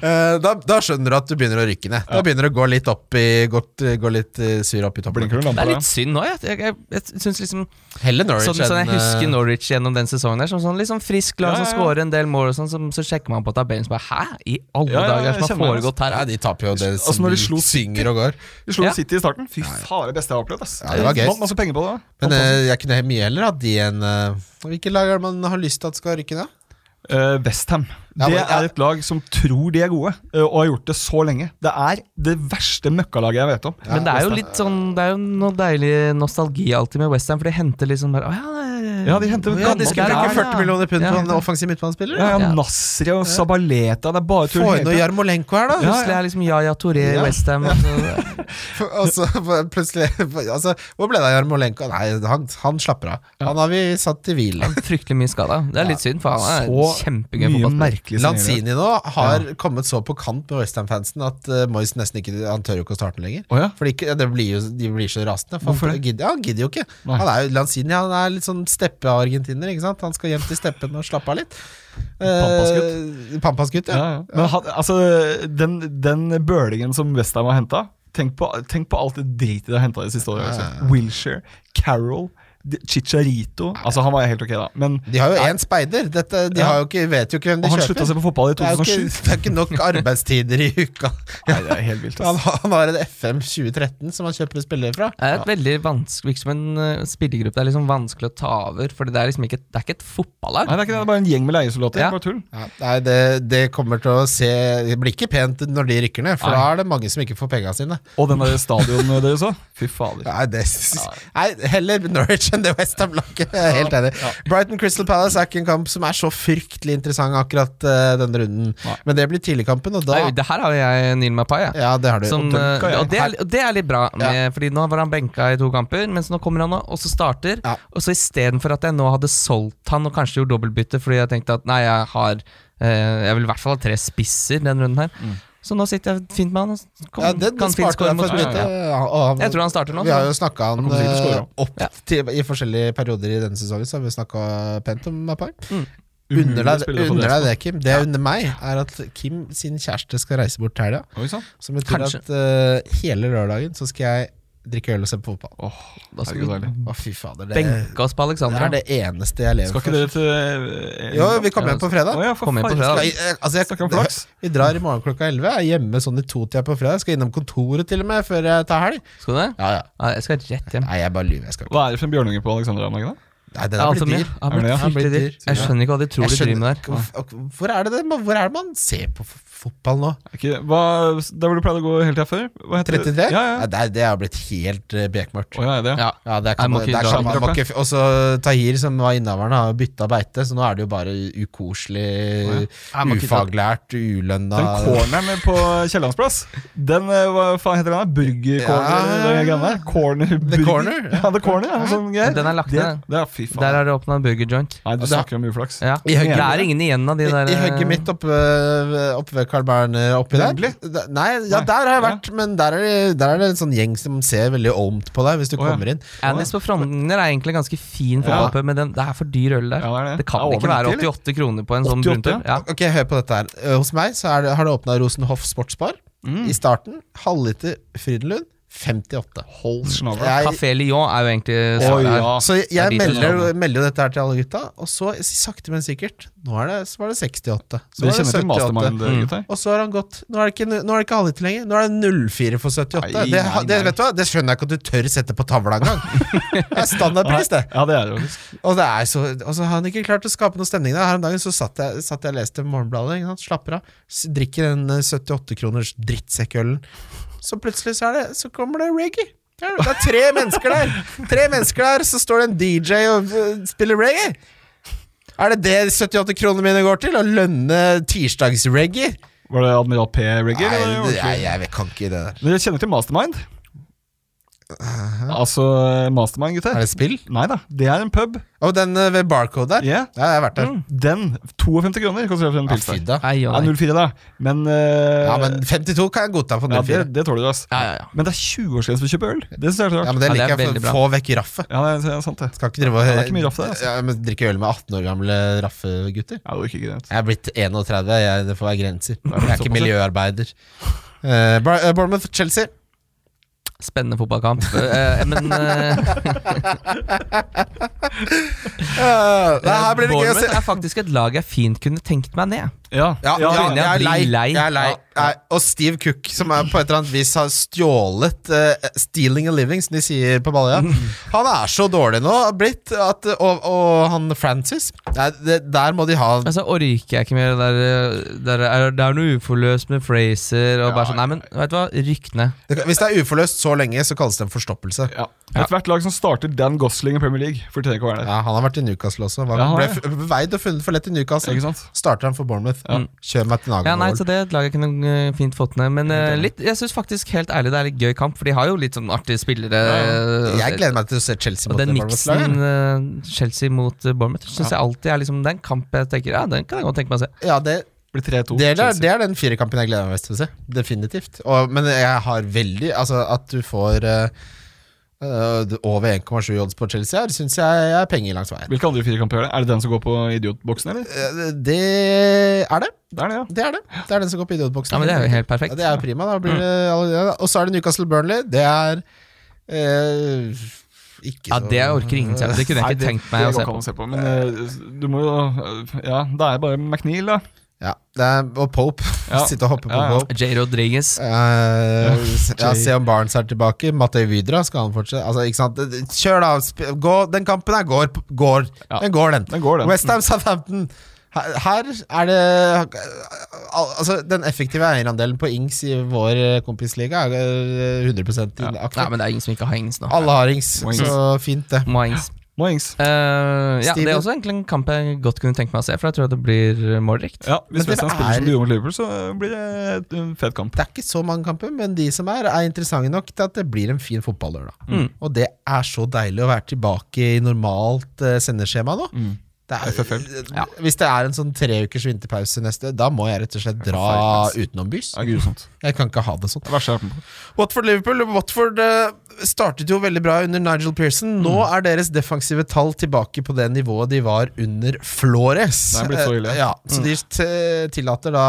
C: Eh, da, da skjønner du at du begynner å rykke ned. Da begynner det å gå litt opp i Gått, gå litt eh, sur opp i toppen.
E: Blinker du
D: Det er
E: lampa?
D: litt synd nå. Jeg, jeg, jeg, jeg synes liksom
C: Heller Norwich
D: Sånn som jeg
C: enn, eh,
D: husker Norwich gjennom den sesongen der, som sånn liksom frisk glad
E: Ja,
D: som
E: ja, ja.
D: scorer en del mål og sånn, som- så sjekker man på tabellen og bare Hæ? I alle
E: Ja, ja,
D: dager
E: jeg
D: som har
E: kjenner meg,
D: foregått her?
C: Nei, de taper jo det som
E: Altså, når de
C: de
E: slo
C: synger og går.
E: Vi slo
D: Ja.
E: City i starten. Fy faen, det beste jeg har opplevd. ass
C: Ja, det var gøy.
E: Vant masse penger på det. da.
C: Men eh, jeg kunne mye heller hatt de enn eh, Hvilke lag er det man har lyst til at skal rykke ned?
E: Eh, Westham.
C: Ja,
E: Det
C: men- ja.
E: er et lag som tror de er gode, eh, og har gjort det så lenge. Det er det verste møkkalaget jeg vet om.
D: Men det er jo litt sånn Det er jo noe deilig nostalgi alltid med Westham, for de henter liksom bare Å ja, det er,
E: Ja, de henter
C: Ja, de skulle
D: gammel-
C: bruke 40 millioner pund
D: Ja.
C: på en offensiv midtbanespiller.
E: Ja, ja,
D: Ja.
E: Nasri og Sabaleta, det er bare tull.
C: Få inn
E: hele
C: noe
E: tiden.
C: Jarmolenko her, da!
D: Plutselig er liksom Yaya Toré i
C: Ja.
D: Westham. Altså,
C: For- Altså, for- plutselig altså, Hvor ble det av Jarmolenko? Nei, han, han slapper av. Han har vi satt til hvile.
D: fryktelig mye skada. Det er litt synd, for han er en
E: Så
D: kjempegøy
E: Mye
D: fotballspiller.
E: merkelig signering.
C: Lanzini nå har kommet så på kant med Westham-fansen at uh, Moyes nesten ikke Han tør jo ikke å starte lenger.
E: Å ja.
C: Fordi ikke, det blir jo, De blir så rasende. For
E: Hvorfor
C: han,
E: det?
C: gidder, ja, han gidder jo ikke.
E: Nei.
C: Han er jo Lanzini Han er litt sånn steppe-argentiner. Ikke sant? Han skal hjem til steppen og slappe av litt.
E: Pampasgutt.
C: Eh, Pampasgutt,
E: Ja,
C: ja.
E: ja. Men han, altså, den, den bølingen som Westham har henta Tenk på, tenk på alt det dritet de har henta de siste årene. Altså. Wilshere, Carroll, de- Chicharito Altså, han var helt ok, da, men
C: De har jo én speider. Dette, de
E: Ja.
C: har jo ikke, vet jo ikke hvem
E: og
C: de
E: han slutta
C: kjøper.
E: seg på fotball i
C: Det er, jo ikke,
E: 2007.
C: det er ikke nok arbeidstider i uka.
E: Nei, det er helt vilt.
C: Han,
E: ass.
C: har- han har en FM 2013 som han kjøper spillere fra.
D: Det er et veldig vanskelig liksom en eh, spillergruppe. Det er liksom vanskelig å ta over, for det er liksom ikke, det er ikke et fotballag.
E: Nei, det er ikke det, det er bare en gjeng med leiesoldater.
D: Ja.
E: Bare tull.
C: Ja, nei, det, det kommer til å se Det blir ikke pent når de rykker ned, for da er det mange som ikke får pengene sine.
E: Og den der stadionen deres òg. Fy fader.
C: Nei, det, nei heller Norwich enn det West Ham-laget. Jeg er Helt enig. Brighton Crystal Palace er ikke en kamp som er så fryktelig interessant akkurat eh, denne runden,
E: Nei.
C: men det blir tidligkampen, og da
D: Nei, det her har jo jeg Neil Mapai, jeg.
C: Ja, det har du.
D: Som,
E: og Duncan,
D: eh,
E: ja.
D: og det, er, og det er litt bra, med, Fordi nå var han benka i to kamper, mens nå kommer han nå, og så starter.
C: Ja.
D: Og så istedenfor at jeg nå hadde solgt han og kanskje gjort dobbeltbytte fordi jeg tenkte at nei, jeg har eh, Jeg vil i hvert fall ha tre spisser den runden her. Så nå sitter jeg fint med han. Og kom,
C: Mm. ja, det, det
D: kan fint
C: sparte
D: score
C: deg
D: mot
C: for et
D: slutten.
C: bytte.
D: Ja.
C: Ja, og han-
D: Jeg tror han starter nå.
C: eh, Vi har
D: så-
C: jo snakka han
E: kommer sikkert til å
C: eh,
E: score,
C: opp til, i forskjellige perioder i denne sesongen, så har vi snakka pent om Mapai.
D: Mm.
C: Under
E: Umulig
C: deg,
E: spiller for
C: under
E: Dresden.
C: deg det, Kim. Det under meg er at Kim sin kjæreste skal reise bort til helga.
E: Oi sann.
C: Som betyr
D: Kanskje.
C: at eh, hele lørdagen så skal jeg drikke øl og se på fotball. Å,
D: Da skal
E: Herregud,
D: vi
E: deilig.
C: fy fader. Det,
D: benke oss på
C: det er
D: Alexandra.
C: det eneste jeg lever
E: Skal ikke
C: for.
E: dere til eh,
C: Jo, vi kommer hjem på fredag.
E: Å ja, for
D: Kom hjem på
E: faen.
D: fredag.
C: Skal jeg- eh, altså, jeg-
E: Snakker om flaks.
C: Vi drar i morgen klokka 11. Jeg er hjemme sånn i totida på fredag. Skal innom kontoret til og med før jeg tar helg.
D: Skal du det?
C: Ja, ja.
D: Ja, jeg skal rett hjem.
C: Nei, jeg bare lyver. Jeg skal ikke.
E: Hva er det for en bjørnunge på Alexandra om dagen? da?
C: Nei, den
D: Det er
C: er
D: altfor
C: blitt
D: mye.
C: dyr.
D: Ja, altså,
E: Er
D: men
E: det det?
D: fryktelig
C: Ja, blitt
D: dyr.
C: dyr.
D: Jeg skjønner ikke hva de tror
C: Jeg
D: de driver
C: skjønner
D: med
C: ikke
D: der.
C: hvorf- og Hvor er det det Hvor er det man ser på f- fotball nå?
E: Ok, hva, der hvor du pleide å gå helt til før? Hva heter det?
C: 33?
E: Ja, ja.
C: Nei, det, er, det er blitt helt eh, bekmørkt.
E: Å, ja, er det?
D: Ja.
C: Ja, det
D: Nei,
C: kan
D: må
C: man,
D: ikke
C: der
D: dra
C: kan man,
E: opp,
C: man ikke, Også Tahir, som var innehaveren, har bytta beite, så nå er det jo bare ukoselig,
D: Nei, man må ikke dra-
C: ufaglært, ulønna
E: Den corneren på Kiellandsplass, den eh, hva faen heter den? der? Burger corner?
C: Ja.
E: eller den greia der? Corner burger?
C: Corner, ja.
E: Ja, The Corner, ja. Sånn greier.
D: Den er lagt
E: Det-
D: ned.
E: Det er fy faen.
D: Der har de åpna en burger joint.
E: Nei, du
C: Det er-
E: snakker om uflaks.
D: Ja.
C: Altså- I
D: Det
C: hugget.
D: er ingen igjen av de
C: I,
D: der eh,
C: I hugget mitt oppe ved- oppe ved Carl Berner oppi der.
E: Nemlig.
C: Da- Nei, ja,
E: Nei.
C: der har jeg vært, men der er, det, der er det en sånn gjeng som ser veldig ovmt på deg hvis du
E: Å, ja.
C: kommer inn.
D: Anis på Frogner er egentlig en ganske fin fotballpub, men den, det er for dyr øl der.
E: Ja, det er det.
D: det kan
E: Det er
D: ikke
E: over
D: være
E: 90,
D: 88 kroner på en sånn
E: 88,
D: brunpub. Ja.
C: Ok, hør på dette her. Eh, Hos meg så er det, har det åpna Rosenhoff sportsbar
E: Mm.
C: i starten. Halvliter Frydenlund, 58.
E: Hold snabelen.
C: Jeg,
D: Café Lyon er jo egentlig
E: Oi,
D: svaret her.
E: ja.
C: Så jeg, jeg
D: Det er de som
C: melder,
D: skal ha
C: melder jo dette her til alle gutta, og så sakte, men sikkert Nå er det, så var det 68. Så
E: Dere
C: var
E: kjenner
C: det
E: til
C: 78.
E: mastermind,
D: Mm.
E: gutter?
C: Og så har han gått Nå er det ikke, nå er det ikke halvliter lenger. Nå er det 04 for 78.
E: Nei,
C: det,
E: nei,
C: det,
E: nei.
C: vet du hva? det skjønner jeg ikke at du tør sette på tavla engang. det er standardpris, det.
E: Ja, det er det jo. faktisk.
C: Og, det er så, og så har han ikke klart å skape noe stemning der. Her om dagen så satt jeg, satt jeg og leste Morgenbladet. Ikke sant? Slapper av. S- Drikker den eh, 78-kroners drittsekkølen. Så plutselig så, er det, så kommer det reggae. Ja, Det er tre mennesker der, Tre mennesker der så står det en DJ og eh, spiller reggae. Er det det 78 kronene mine går til? Å lønne tirsdagsreggae?
E: Var det Admiral P-reggae?
C: Nei,
E: eller var det
C: nei,
E: ordentlig?
C: jeg kan ikke det der.
E: Dere kjenner til mastermind? Altså mastermind,
C: Er
E: gutter?
C: det spill?
E: Nei da, det er en pub.
C: Og den eh, ved Barcode der?
E: Ja. Mm.
C: Ja, jeg har vært der.
E: Den, 52 kroner, koster det for en
C: Ja,
E: pils
C: fy
E: der.
C: da.
D: Nei, ja,
E: Ja,
D: nei.
E: 04, da. Men, eh,
C: Ja, men 52 kan jeg godta for
E: ja,
C: 04.
E: det, det tåler du, ass.
D: Ja, ja, ja.
E: Men det er 20-årsgrense for å kjøpe øl. Det synes jeg er så
C: Ja,
E: rart.
C: men det
D: Ja, det er
C: liker jeg.
D: veldig
C: for-
D: bra.
C: Få vekk raffet.
E: Ja, det er- det er sant, det.
C: Skal ikke drive og
E: Ja, det er ikke mye raff der, altså.
C: ja, men drikke øl med 18 år gamle raffegutter.
E: Ja, det var ikke greit.
C: Jeg er blitt 31, jeg, det får være grenser.
E: vel
C: Jeg er ikke
E: såpass, ja.
C: miljøarbeider. Uh, Bournemouth-Chelsea.
D: Spennende fotballkamp. Eh, men eh,
C: her blir det gøy å se. Eh,
D: Bournemouth er faktisk et lag jeg fint kunne tenkt meg ned.
E: Ja,
C: Ja, ja,
D: Brynja
C: jeg er lei.
D: blir lei.
C: Jeg er lei.
D: Ja.
C: Nei, Og Steve Cook, som er på et eller annet vis har stjålet eh, 'stealing a living', som de sier på Balja. Han er så dårlig nå blitt, at, og, og han Francis Nei, det, Der må de ha
D: Altså, orker jeg ikke mer det der, der er, Det er noe uforløst med Fraser og bare sånn Nei, men vet du hva? Rykk ned.
C: Hvis det er uforløst så lenge, så kalles det en forstoppelse.
E: ja. Ethvert lag som starter Dan Gosling i Premier League, fortjener ikke å være der.
C: Ja, Han har vært i Newcastle også. Var,
E: Ja, han
C: ble
E: har det.
C: f- veid og funnet for lett i Newcastle.
E: Ikke sant?
C: Starter han for Bournemouth. Mm. Kjør meg til
D: Ja, nei,
C: Nagel.
D: så Det er et lag jeg kunne eh, fint fått ned. Men eh, litt, jeg syns faktisk helt ærlig det er litt gøy kamp, for de har jo litt sånn artige spillere.
C: jeg gleder meg til å se Chelsea
D: Og
C: mot
D: den
C: Bournemouth-laget.
D: miksen eh, Chelsea mot eh, Bournemouth syns jeg alltid er liksom Det er en kamp jeg tenker Ja, den kan jeg godt tenke meg å se.
C: Ja, det,
E: Blir 3-2.
C: det, er,
E: Chelsea.
C: det er den firekampen jeg gleder meg mest til å se. Definitivt. Og, men jeg har veldig Altså, at du får eh, eh, over 1,7 odds på Chelsea her, syns jeg er penger langs veien.
E: Hvilke andre fire kamper er det? Er det den som går på idiotboksen, eller?
C: Eh, Det er det.
E: Det er det, ja.
C: Det er det. Det er den som går på idiotboksen.
D: Ja, men Det er jo helt
C: Ja,
D: perfekt.
C: det er jo prima. Da blir det, allerede- og så er det Newcastle Burnley. Det er eh, ikke
D: Ja, det orker ingen se. Det kunne
E: Nei,
D: jeg ikke
E: det-
D: tenkt meg å
E: det
D: se
E: går ikke an
D: på.
E: å se på. Men eh, du må jo eh, Ja, det er bare McNeil, da.
C: Ja, det er, og Pope.
E: Ja.
C: Sitte og hoppe på
E: Ja, ja.
C: Pope.
D: J. Rodriguez.
C: Eh, ja, se om Barnes er tilbake. Matei Vidra, skal han fortsette? Altså, ikke sant? Kjør, da! Sp gå. Den kampen her går. går.
E: Ja.
C: Den går, den.
E: Den går, den.
C: Westham Southampton. Her, her er det al- Altså, den effektive eierandelen på Ings i vår eh, kompisliga er eh, 100 i
D: Nei,
C: akkurat.
D: men det er ingen som ikke har Ings nå.
C: Alle har Ings,
E: Må Ings.
C: så fint, det.
D: Må ha Ings.
E: Må Ings.
D: Eh, ja, det
C: Steven.
D: er også egentlig en kamp jeg godt kunne tenke meg å se, for jeg tror at det blir eh, målrikt.
E: Ja, hvis
C: Men dere
E: Western spiller
C: er-
E: som de gjorde mot Liverpool, så blir det en fet kamp.
C: Det er ikke så mange kamper, men de som er, er interessante nok til at det blir en fin fotballørdag. Og det er så deilig å være tilbake i normalt eh, sendeskjema nå. Det er,
D: Ja.
C: Hvis det er en sånn tre ukers vinterpause neste, da må jeg rett og slett dra utenombys.
E: Det er grusomt.
C: Jeg kan ikke ha det sånn.
E: Det verste jeg har vært med på.
C: Watford-Liverpool. Watford eh, startet jo veldig bra under Nigel Pearson.
E: Mm.
C: Nå er deres defensive tall tilbake på det nivået de var under Flores.
E: Det er blitt så ille. Mm.
C: Eh, Ja, så de t- tillater da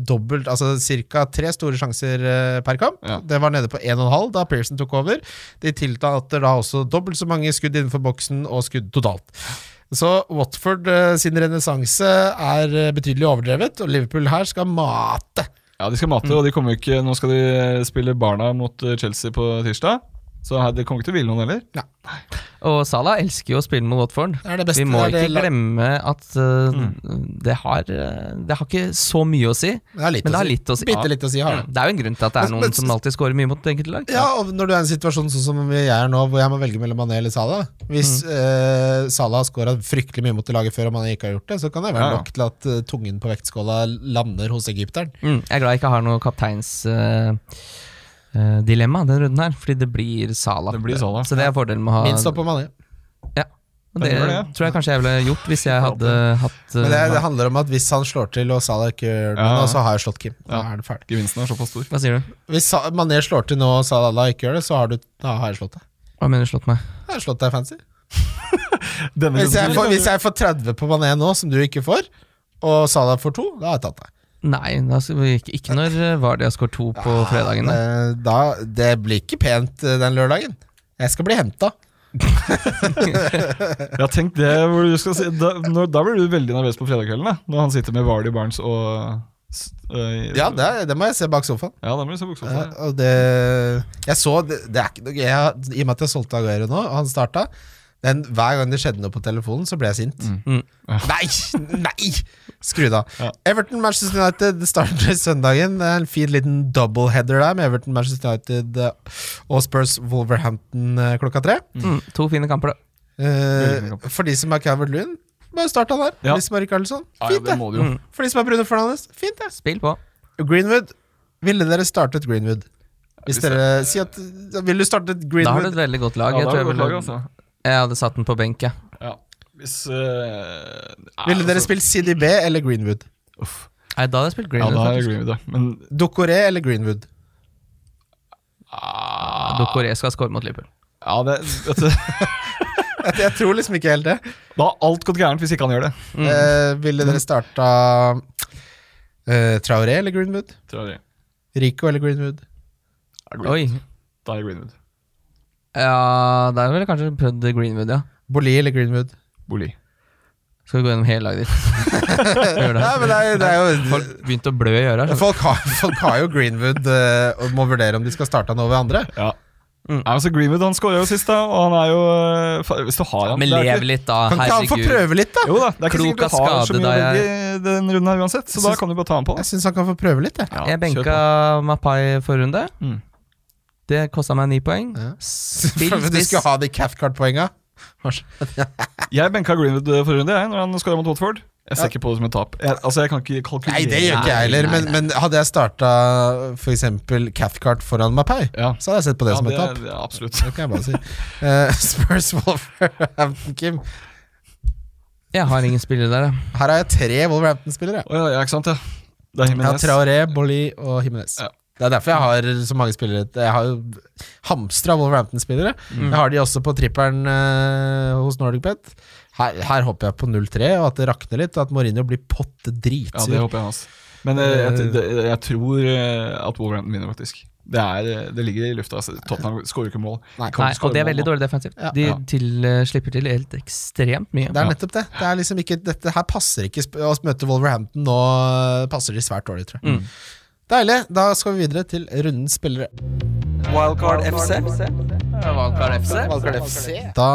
C: dobbelt, altså ca. tre store sjanser eh, per kamp.
E: Ja.
C: Det var nede på 1,5 da Pearson tok over. De tillater da også dobbelt så mange skudd innenfor boksen og skudd totalt. Så Watford eh, sin renessanse er eh, betydelig overdrevet, og Liverpool her skal mate.
E: Ja, de skal mate, og de kommer jo ikke Nå skal de spille Barna mot eh, Chelsea på tirsdag. Så her, det kommer ikke til å hvile noen heller.
D: Og Salah elsker jo å spille mot Watford.
C: Det er det beste.
D: Vi må
C: det er
D: ikke
C: det,
D: glemme at eh, det, har, eh, det har ikke så mye å si,
C: Det er litt
D: men det
C: å
D: har
C: si.
D: litt å si.
C: Bitte litt å si, har det.
D: Det er jo en grunn til at det er
C: Men-
D: noen
C: men-
D: som alltid scorer mye mot enkelte lag.
C: Ja, og når du er i en situasjon sånn som jeg er nå, hvor jeg må velge mellom Mané eller Salah Hvis
D: Mm.
C: eh, Salah har skåra fryktelig mye mot det laget før og Mané ikke har gjort det, så kan det være
E: Ja, ja.
C: nok til at eh, tungen på vektskåla lander hos egypteren.
D: Mm, jeg er glad jeg ikke har noe kapteinsdilemma uh, dilemma denne runden her, fordi det blir Salah.
E: Det blir Salah.
D: Så det er fordelen med å ha
C: Minst opp på Mané.
D: Og Det
E: Det gjør det, ja.
D: tror jeg kanskje jeg ville gjort hvis jeg hadde hatt
C: Men det,
D: eh,
C: det handler om at hvis han slår til og Salah ikke gjør det,
E: Ja, ja.
C: nå, så har jeg slått Kim. Da
E: Ja.
C: er det ferdig.
E: Gevinsten er såpass stor.
D: Hva sier du?
C: Hvis Sa- Mané slår til nå og Salah ikke gjør det, så har, du, da har jeg slått deg.
D: Hva mener du slått meg?
C: Da har jeg slått deg fancy.
E: Denne
C: Hvis jeg,
E: runden-
C: får, hvis jeg får 30 på Mané nå, som du ikke får, og Salah får to, da har jeg tatt deg.
D: Nei, da skal vi ikke, ikke når eh, Vardy har skåret to på fredagen. da.
C: Eh, Da, det blir ikke pent eh, den lørdagen. Jeg skal bli henta.
E: Ja, tenk det hvor du skal si Da, når, da blir du veldig nervøs på fredagskvelden, da. Når han sitter med Vardy Barnes og s- øh,
C: Ja, det, er- det må jeg se bak sofaen.
E: ja, da blir du så buksa
C: Ja,
E: på.
C: og det, jeg så, det, det er ikke noe jeg, har- I og med at jeg solgte Aguero nå, og han starta men hver gang det skjedde noe på telefonen, så ble jeg sint.
D: Mm.
C: Nei! nei Skru det av.
E: Ja.
C: Everton Manchester United det starter søndagen. Det er en fin liten double header der med Everton Manchester United eh, og Spurs Wolverhampton eh, klokka tre.
D: Mm, to fine kamper, da.
C: Eh,
E: fin kamp.
C: for de som er Calvert Lewin, bare start han der.
E: Ja.
C: For de som er Rikardsson,
E: Ja, ja,
C: fint
E: det
C: det.
E: må du jo.
D: Mm.
C: For de som er Bruno Fernandes, fint det.
D: Spill på.
C: Greenwood, ville dere startet Greenwood? Hvis
E: Hvis
C: dere si at Ville du startet
D: Da har du
C: Greenwood?
D: et veldig godt lag.
E: Ja,
D: jeg,
E: da
D: tror
E: er
D: jeg,
E: du på laget,
D: ville,
E: altså.
D: jeg hadde satt den på benk, jeg.
E: Ja. Hvis øh, nei,
C: Ville dere
E: altså,
C: spilt CDB eller Greenwood?
E: uff.
D: Nei, da hadde jeg spilt
E: Ja,
D: Greenwood,
E: da er jeg
D: faktisk.
E: Greenwood, da. Men
C: Dokoré eller Greenwood?
E: ah,
D: Dokore skal score mot Liverpool.
E: Ja, det, vet du,
C: Jeg, jeg tror liksom ikke helt det.
E: da har alt gått gærent hvis ikke han gjør det.
D: Mm.
C: Eh, ville dere starta eh, Traoré eller Greenwood?
E: Tror jeg.
C: Rico eller Greenwood?
E: Er Greenwood.
D: Oi.
E: Da er jeg Greenwood.
D: Ja, da ville jeg kanskje prøvd Greenwood, ja.
C: Boli eller Greenwood?
E: Boli.
D: Skal vi gå gjennom hele laget ditt? Gjør
C: Nei, men det er, det er jo
D: Folk begynte å blø i altså. øra. skjønner du.
C: Folk har, folk har jo Greenwood eh, og må vurdere om de skal starte han over andre.
E: Ja. Nei, men så Greenwood han skåra jo sist, da, og han er jo eh, fa- Hvis du har han
D: Men
E: det er
D: lev
E: ikke-
D: litt, da.
C: Kan ikke han få
D: Herregud.
C: prøve litt, da?
E: Jo da, det er ikke
D: Klok
E: sikkert du
D: av
E: har så
D: skade,
E: mye å
D: da,
E: velge i den runden her uansett, så da
C: Syns-
E: kan du bare ta han på. da.
C: Jeg syns han kan få prøve litt, jeg.
E: Ja,
D: Jeg
E: kjør
D: benka
E: på.
D: Mapai forrige runde.
E: Mm.
D: Det kosta meg ni poeng.
C: Ja.
D: Spill
C: du
D: spiss.
C: skulle ha de Cathcart-poenga.
E: Jeg benka Greenwood eh, forrige runde, jeg, når han skåra mot Watford. Jeg ser
C: Ja.
E: ikke på det som et tap. Jeg, altså, jeg kan ikke kalkulere
C: Nei, det gjør ikke jeg heller,
D: Nei,
C: men,
D: nei,
C: men hadde jeg starta f.eks. Cathcart foran Mapai,
E: Ja,
C: så hadde jeg sett på det
E: ja
C: som
E: det,
C: et tap.
E: det er absolutt.
C: Det kan jeg bare si. Eh, Spurs Wolverhampton, Kim.
D: Jeg har ingen spillere der, jeg.
C: Her har jeg tre Wolverhampton-spillere.
E: Å ja, ja, ikke sant, ja. Det er
C: Jeg har
E: Jimenez.
C: Traoré, Bolli og Himinez.
E: Ja.
C: Det er derfor jeg har så mange spillere. Jeg har jo hamstra Wolverhampton-spillere.
E: Mm.
C: Jeg har de også på trippelen eh, hos NordicBet. Her, her håper jeg på 0-3, og at det rakner litt, og at Mourinho blir potte dritsur.
E: Ja, det håper jeg, altså. Men eh, jeg, det, jeg tror eh, at Wolverhampton vinner, faktisk. Det, er, eh, det ligger i lufta. Altså. Tottenham skårer ikke mål.
C: Nei,
D: Nei, og det er veldig dårlig defensivt.
C: Ja.
D: De
E: Ja.
D: til, eh, slipper til helt ekstremt mye.
C: Det er nettopp det. det er liksom ikke, dette her passer ikke sp- å møte Wolverhampton nå. eh, Passer de svært dårlig, tror jeg.
D: Mm.
C: Deilig. Da skal vi videre til rundens spillere.
A: Wildcard FC.
B: Valkar FC.
A: Wildcard FC.
C: Da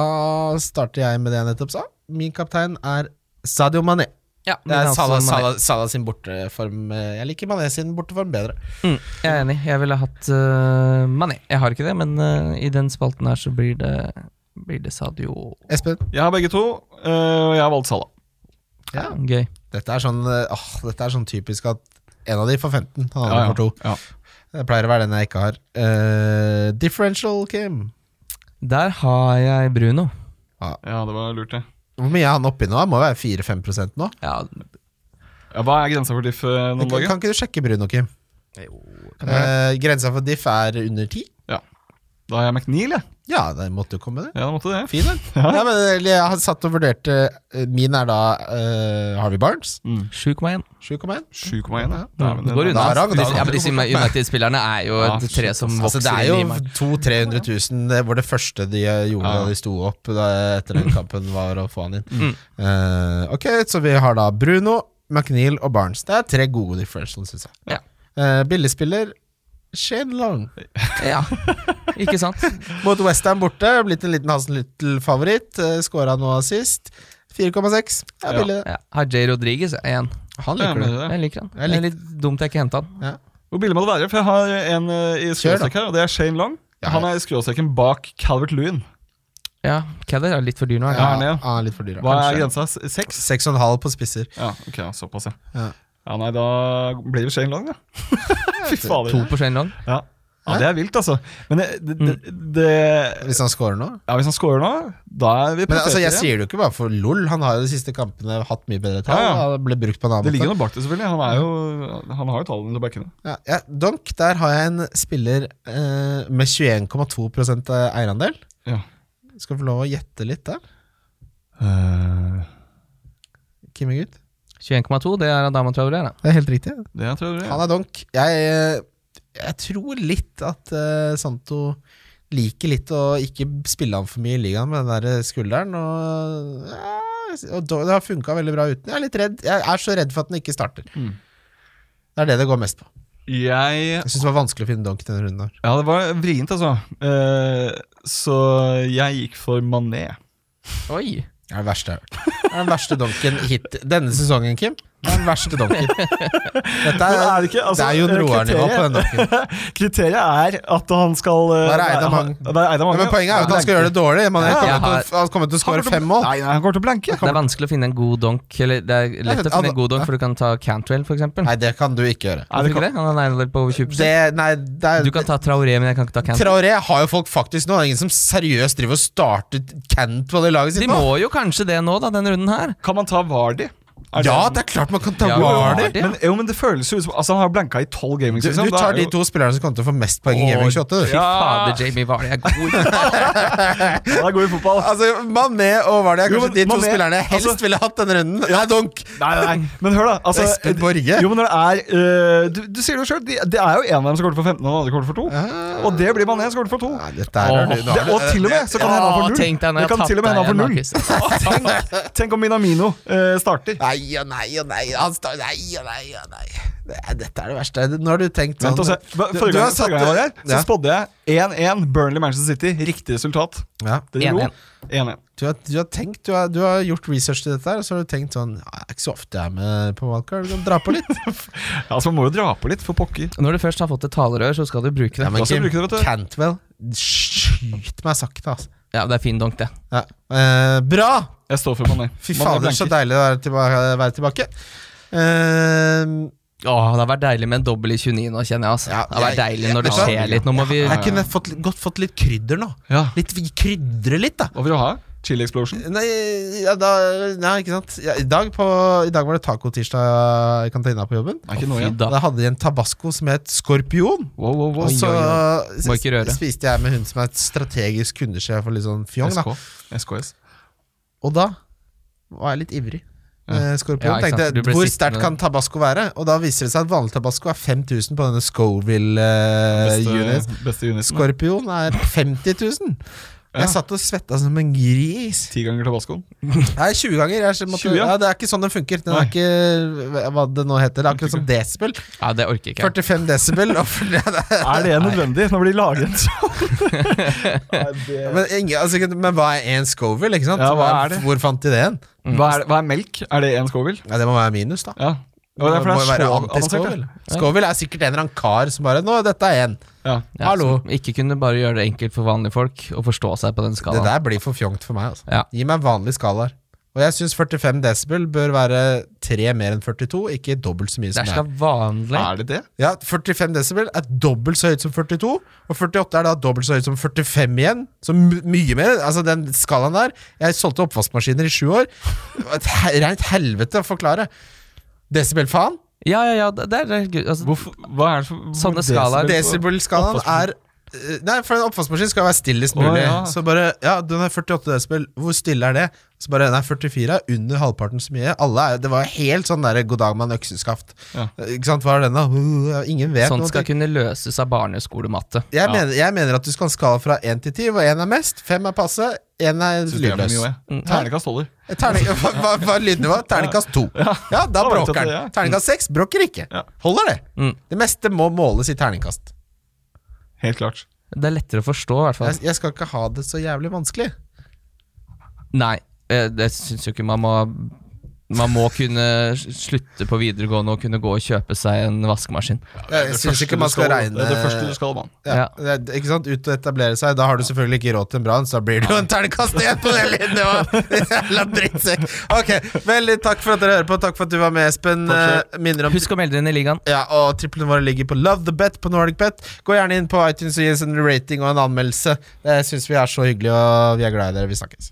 C: starter jeg med det jeg nettopp sa. Min kaptein er Sadio Mané.
D: Ja, men
C: Det er
D: altså,
C: Salah,
D: Mané.
C: Salah, Salah sin borteform. eh, Jeg liker Mané sin borteform bedre.
D: Mm, jeg er enig. Jeg ville hatt eh, Mané. Jeg har ikke det, men eh, i den spalten her så blir det, blir det Sadio
C: Espen?
E: Jeg har begge to, eh, og jeg har valgt Salah.
C: Ja.
D: Gøy.
C: Dette er sånn, eh, åh, dette er sånn typisk at en av de får 15, han andre
E: Ja, ja.
C: får 2.
E: Ja.
C: Det pleier å være den jeg ikke har. Eh, differential, Kim.
D: Der har jeg Bruno.
E: ja, det var lurt, det.
C: Hvor mye er han oppi nå? Han må være 4-5 nå.
D: Ja,
E: Ja, hva er grensa for diff eh,
C: Kan,
E: noen dager?
C: kan ikke du sjekke Bruno, Kim? Eh, grensa for diff er under 10.
E: Da har jeg McNeil, jeg.
C: Ja, det måtte jo komme, det.
E: Ja, da måtte det.
C: Fin, den. ja, men eller, jeg har satt og vurdert eh, Min er da eh, Harvey Barnes.
D: 7,1.
C: 7,1.
E: 7,1. Ja.
D: Ja,
E: Dæven,
D: det går unna.
C: da er det- da er det-
D: Ja, men disse United-spillerne er jo
E: Ja,
D: et tre som
C: Altså,
D: vokser
C: det er
D: inn i meg.
C: jo 200 000-300 000 Det var det første de eh, gjorde
E: Ja.
C: da de sto opp da, etter den kampen, var å få han inn.
D: Mm.
C: Eh, ok, så vi har da Bruno, McNeil og Barnes. Det er tre gode differentials, syns jeg.
D: Ja.
C: Eh, billigspiller Shane Long.
D: Ja, ikke sant?
C: Mot Westham borte, blitt en liten Hansen Lyttel-favoritt. Uh, Skåra nå sist. 4,6. Det er
E: Ja.
C: billig, det.
D: Ja. Har J. Rodriguez er én.
C: Han
E: Ja,
C: liker
E: men det
C: det.
E: er det.
D: Jeg liker han.
C: Jeg
D: Det
C: likte-
D: er litt dumt jeg ikke henta han.
E: Hvor billig må det være? For jeg har en eh, i
C: Kjør, da.
E: skråstrek her, og det er Shane Long.
C: Ja,
E: Han er i skråstreken bak Calvert Lewin.
D: Ja, Keller er litt for dyr nå.
E: Ja.
D: Ja.
E: han er,
C: han er litt for dyr, da.
E: Hva
C: Kanskje.
E: er grensa? S- Seks?
C: 6,5 på spisser.
E: Ja, ok, ja, såpass, ja. ja.
C: Ja.
E: Nei, da blir det Shane Long, da. Fy
D: To
E: fader.
D: på Shane Long.
E: Ja. ja, det er vilt, altså. Men det, det,
C: Mm.
E: det, det
C: Hvis han scorer nå.
E: Ja, Hvis han scorer nå, da er vi
C: Men altså,
E: profeter
C: jeg
E: igjen.
C: sier det jo ikke bare for lol. Han har jo de siste kampene hatt mye bedre tall.
E: Ja, ja.
C: Han Ble brukt på en
E: Det
C: annen
E: ligger
C: måte.
E: noe bak det, selvfølgelig. Han, er jo, han har jo tallene til å backe det.
C: Ja, ja, Donk, der har jeg en spiller eh, med 21,2 eh, eierandel.
E: Ja.
C: Skal få lov å gjette litt der.
E: Eh,
C: Kimmegutt.
D: 21,2, det er Adama Traoré. da.
C: Det er helt riktig.
E: det tror jeg det
C: Han
E: er.
C: er donk. Jeg, eh, jeg tror litt at eh, Santo liker litt å ikke spille han for mye i ligaen med den der skulderen. Og, eh, ja, og da- det har funka veldig bra uten. Jeg er litt redd Jeg er så redd for at den ikke starter.
E: Mm.
C: Det er det det går mest på.
E: Jeg
C: Jeg syns det var vanskelig å finne donk denne runden. her
E: Ja, det var vrient, altså. Eh, så jeg gikk for Mané.
D: Oi!
C: Det er det verste jeg har hørt. Det er den verste donken hit denne sesongen, Kim. Det er den verste donken. Dette
E: Men
C: er,
E: er det ikke- altså,
C: det er Jon
E: eh,
C: Roar-nivå på den donken.
E: Kriteriet er at han skal eh,
C: Være eid av
E: han-
C: mange.
E: Være eid av
C: Ja,
E: mange.
C: men poenget er jo at han skal gjøre det dårlig. Man er
D: Ja, jeg
C: kommet til,
D: har-
C: å- han kommer til å skåre fem mål.
E: Nei, nei, han kommer til å blanke.
D: Det er vanskelig å finne en god donk. Eller det er lett å finne en god donk, for du kan ta Cantwell, for eksempel.
C: altså, Nei, det kan du ikke
E: Nei,
C: gjøre.
E: det
D: Hvorfor ikke det? Han har en eiendel på over 20
C: Det, nei, det er,
D: Du kan ta Traoré, men jeg kan ikke ta Cantwell.
C: Traoré har jo folk faktisk nå. Det er ingen som seriøst driver og starter Cantwell i laget
D: De
C: sitt nå.
D: må jo kanskje det nå, da, denne runden her.
E: Kan man ta Vardi? Er
C: Ja,
E: det
C: det er klart man kan ta
D: Ja,
C: Wardy.
D: det-
E: Men, jo, men det føles jo ut som Altså, han har blanka i tolv gaming
C: Du,
E: season.
C: du
E: Da
C: tar
E: er
C: de
E: jo-
C: to spillerne som kommer til å få mest poeng i Gaming 28. Du.
D: Fy
E: Ah.
D: fader, Jamie Vardy er god.
E: Ja, det er god i fotball.
C: Altså, Mané og Wardy er
E: Jo,
C: kanskje
E: men
C: de to
E: Mané-
C: spillerne jeg helst
E: altså-
C: ville hatt denne runden. Nei, donk!
E: Nei, nei, nei. Men hør, da. Altså,
C: Espen Borge.
E: Jo, men når det er eh, du, du sier det jo sjøl. Det de det er jo en av dem som kommer til å få 15, og den andre kommer til å få 2.
C: Ah.
E: Og det blir Mané som kommer til å få 2.
C: Nei, dette her er
D: Åh,
C: du, nå har
E: Det, og
C: du-
E: til og med så kan det hende han får
D: Å,
E: null.
D: tenk deg når
E: Det
D: jeg
E: kan
D: tapte
E: til og med hende han
D: deg,
E: får null.
D: Markus.
E: Tenk, tenk om Minamino eh, starter.
C: Nei, nei og nei og nei. Han står nei og nei og nei. Det, er- dette er det verste. Nå har du tenkt sånn
E: Vent og se. Hva-
C: Du-
E: Forrige
C: du har
E: gang, forrige
C: satt-
E: gang jeg var her, så
C: Ja.
E: spådde jeg 1-1 Burnley-Manchester City. Riktig resultat.
C: Ja.
E: Dere lo.
D: 1-1.
E: 1-1.
C: Du, har, du har tenkt Du har, du har gjort research til dette, her og så har du tenkt sånn ja, Det er ikke så ofte jeg er med på valgkart. Du kan dra på litt.
E: Ja, altså, man må jo dra på litt, for pokker.
D: Når du først har fått et talerør, så skal du bruke det.
C: Ja,
D: Ja,
C: men
E: Da skal
C: Kim
E: du bruke det, vet du.
C: Cantwell, skyt meg sakte, altså.
D: Det er fin donk, det.
C: Ja. Eh, bra!
E: Jeg står for Mané.
C: Fy
E: Mané
C: fader, så
E: blanker.
C: deilig det er å tilba- være tilbake. Eh,
D: Åh, det har vært deilig med en dobbel i 29 nå, kjenner jeg. Altså.
C: Ja,
D: det har vært
C: jeg-
D: deilig
C: jeg-
D: når det
C: vet du hva?
D: skjer litt. Nå må vi
C: jeg kunne fått, litt- godt fått litt krydder nå.
E: Ja.
C: Litt, vi krydrer litt, da.
E: Hva vil du ha? Chili Explosion?
C: Nei, ja, da, nei ikke sant. Ja, i, dag på, I dag var det tacotirsdag i kantina på jobben.
E: Er ikke noe igjen.
D: da.
C: Da hadde de en tabasco som het skorpion.
E: Wow, wow, wow.
C: Og så
D: Må ikke røre.
C: s- spiste jeg med hun som er et strategisk kundesjef og litt sånn fjong. Da.
E: SK. SKS.
C: Og da var jeg litt ivrig.
E: Ja.
C: Eh, Skorpion
D: Ja, ikke sant.
C: tenkte
D: Du ble
C: hvor
D: sittende
C: sterkt kan tabasco være? Og da viser det seg at vanlig tabasco er 5000 på denne Scoville eh, unit.
E: Beste, beste uniten.
C: Skorpion er 50 000.
E: Ja.
C: Jeg satt og svetta som en gris.
E: Ti ganger tabascoen.
C: Nei, 20 ganger. Jeg måtte,
E: 20, ja.
C: ja, det er ikke sånn den funker. Den
E: Nei.
C: er ikke hva- hva det nå heter. Det er akkurat som desibel.
D: Ja, det orker ikke jeg.
C: 45 desibel. og for- ja, det er-
E: Er det nødvendig når de lager en sånn?
C: Men, ingen- altså, ikke- men hva er en Scoville? Ikke sant?
E: Ja, hva er det?
C: Hvor fant de det hen?
E: Hva er, hva er melk? Er det en Scoville?
C: Ja, det må være minus, da.
E: Ja. Det var
C: Det
E: derfor
C: må jo
E: det er
C: være
E: så avansert.
C: anti-Scoville. Scoville er sikkert en eller annen kar som bare Nå, dette er en.
E: Ja.
D: Ja,
C: Hallo.
D: som Ikke kunne bare gjøre det enkelt for vanlige folk å forstå seg på den
C: Det
D: skalaen.
C: der blir for fjongt for meg. Altså.
D: Ja.
C: Gi meg vanlige skalaer. Og jeg syns 45 desibel bør være tre mer enn 42, ikke dobbelt så mye som
D: Der
C: det
D: skal
C: er.
D: vanlig
E: Er det det?
C: Ja, 45 desibel er dobbelt så høyt som 42, og 48 er da dobbelt så høyt som 45 igjen. Så my- mye mer. Altså, den skalaen der Jeg solgte oppvaskmaskiner i sju år. Det var Et he- rent helvete å forklare. Desibel-faen.
D: Ja, ja, ja. Det det er, det er altså,
E: Hvorfor, hva er det for, hvor
D: Sånne
E: desibel-
D: skalaer. sånn
C: Desibel-skalaen er eh, Nei, for en oppvaskmaskin skal være stillest mulig.
E: Å, ja.
C: Så bare Ja, den er 48 desibel. Hvor stille er det? Så bare Nei, 44 er under halvparten så mye. Alle er Det var helt sånn derre god dag med en økseskaft.
E: Ja. Sånn
C: Ikke sant, hva er den, da? Uh, Ingen vet
D: sånt
C: noe.
D: skal kunne løses av barneskolematte.
C: Jeg, mener, jeg mener at du skal ha en skala fra 1 til 10, hvor 1 er mest, 5 er passe, 1 er
E: Synes jeg er for
C: lydløs. Eh,
E: mye, jeg. Ternekast holder.
C: Terning, hva, hva, hva er lydnivået? Terningkast 2. Ja, da
E: Da vet jeg
C: bråker
E: at det
C: den.
E: er.
C: Terningkast 6 bråker ikke.
E: Ja.
C: Holder det.
D: Mm.
C: Det meste må måles i terningkast.
E: Helt klart.
D: Det er lettere å forstå, i hvert fall.
C: Jeg, jeg skal ikke ha det så jævlig vanskelig.
D: Nei, eh, det syns jo ikke man må Man må kunne slutte på videregående og kunne gå og kjøpe seg en vaskemaskin.
C: Jeg syns ikke man skal regne
E: Det er det første du skal, mann.
C: ja, det er- Ikke sant? Ut og etablere seg. Da har du selvfølgelig ikke råd til en brann, så da blir det jo en terningkast igjen på det lydnivået! Jævla drittsekk. Ok, veldig takk for at dere hører på. Takk for at du var med, Espen. Eh,
E: Takk
C: Minner om
D: Husk å melde deg inn i ligaen.
C: Ja, og triplene våre ligger på Love the Bet på Nordic Bet. Gå gjerne inn på iTunes og gi oss en rating og en anmeldelse. Det syns vi er så hyggelig, og vi er glad i dere. Vi snakkes.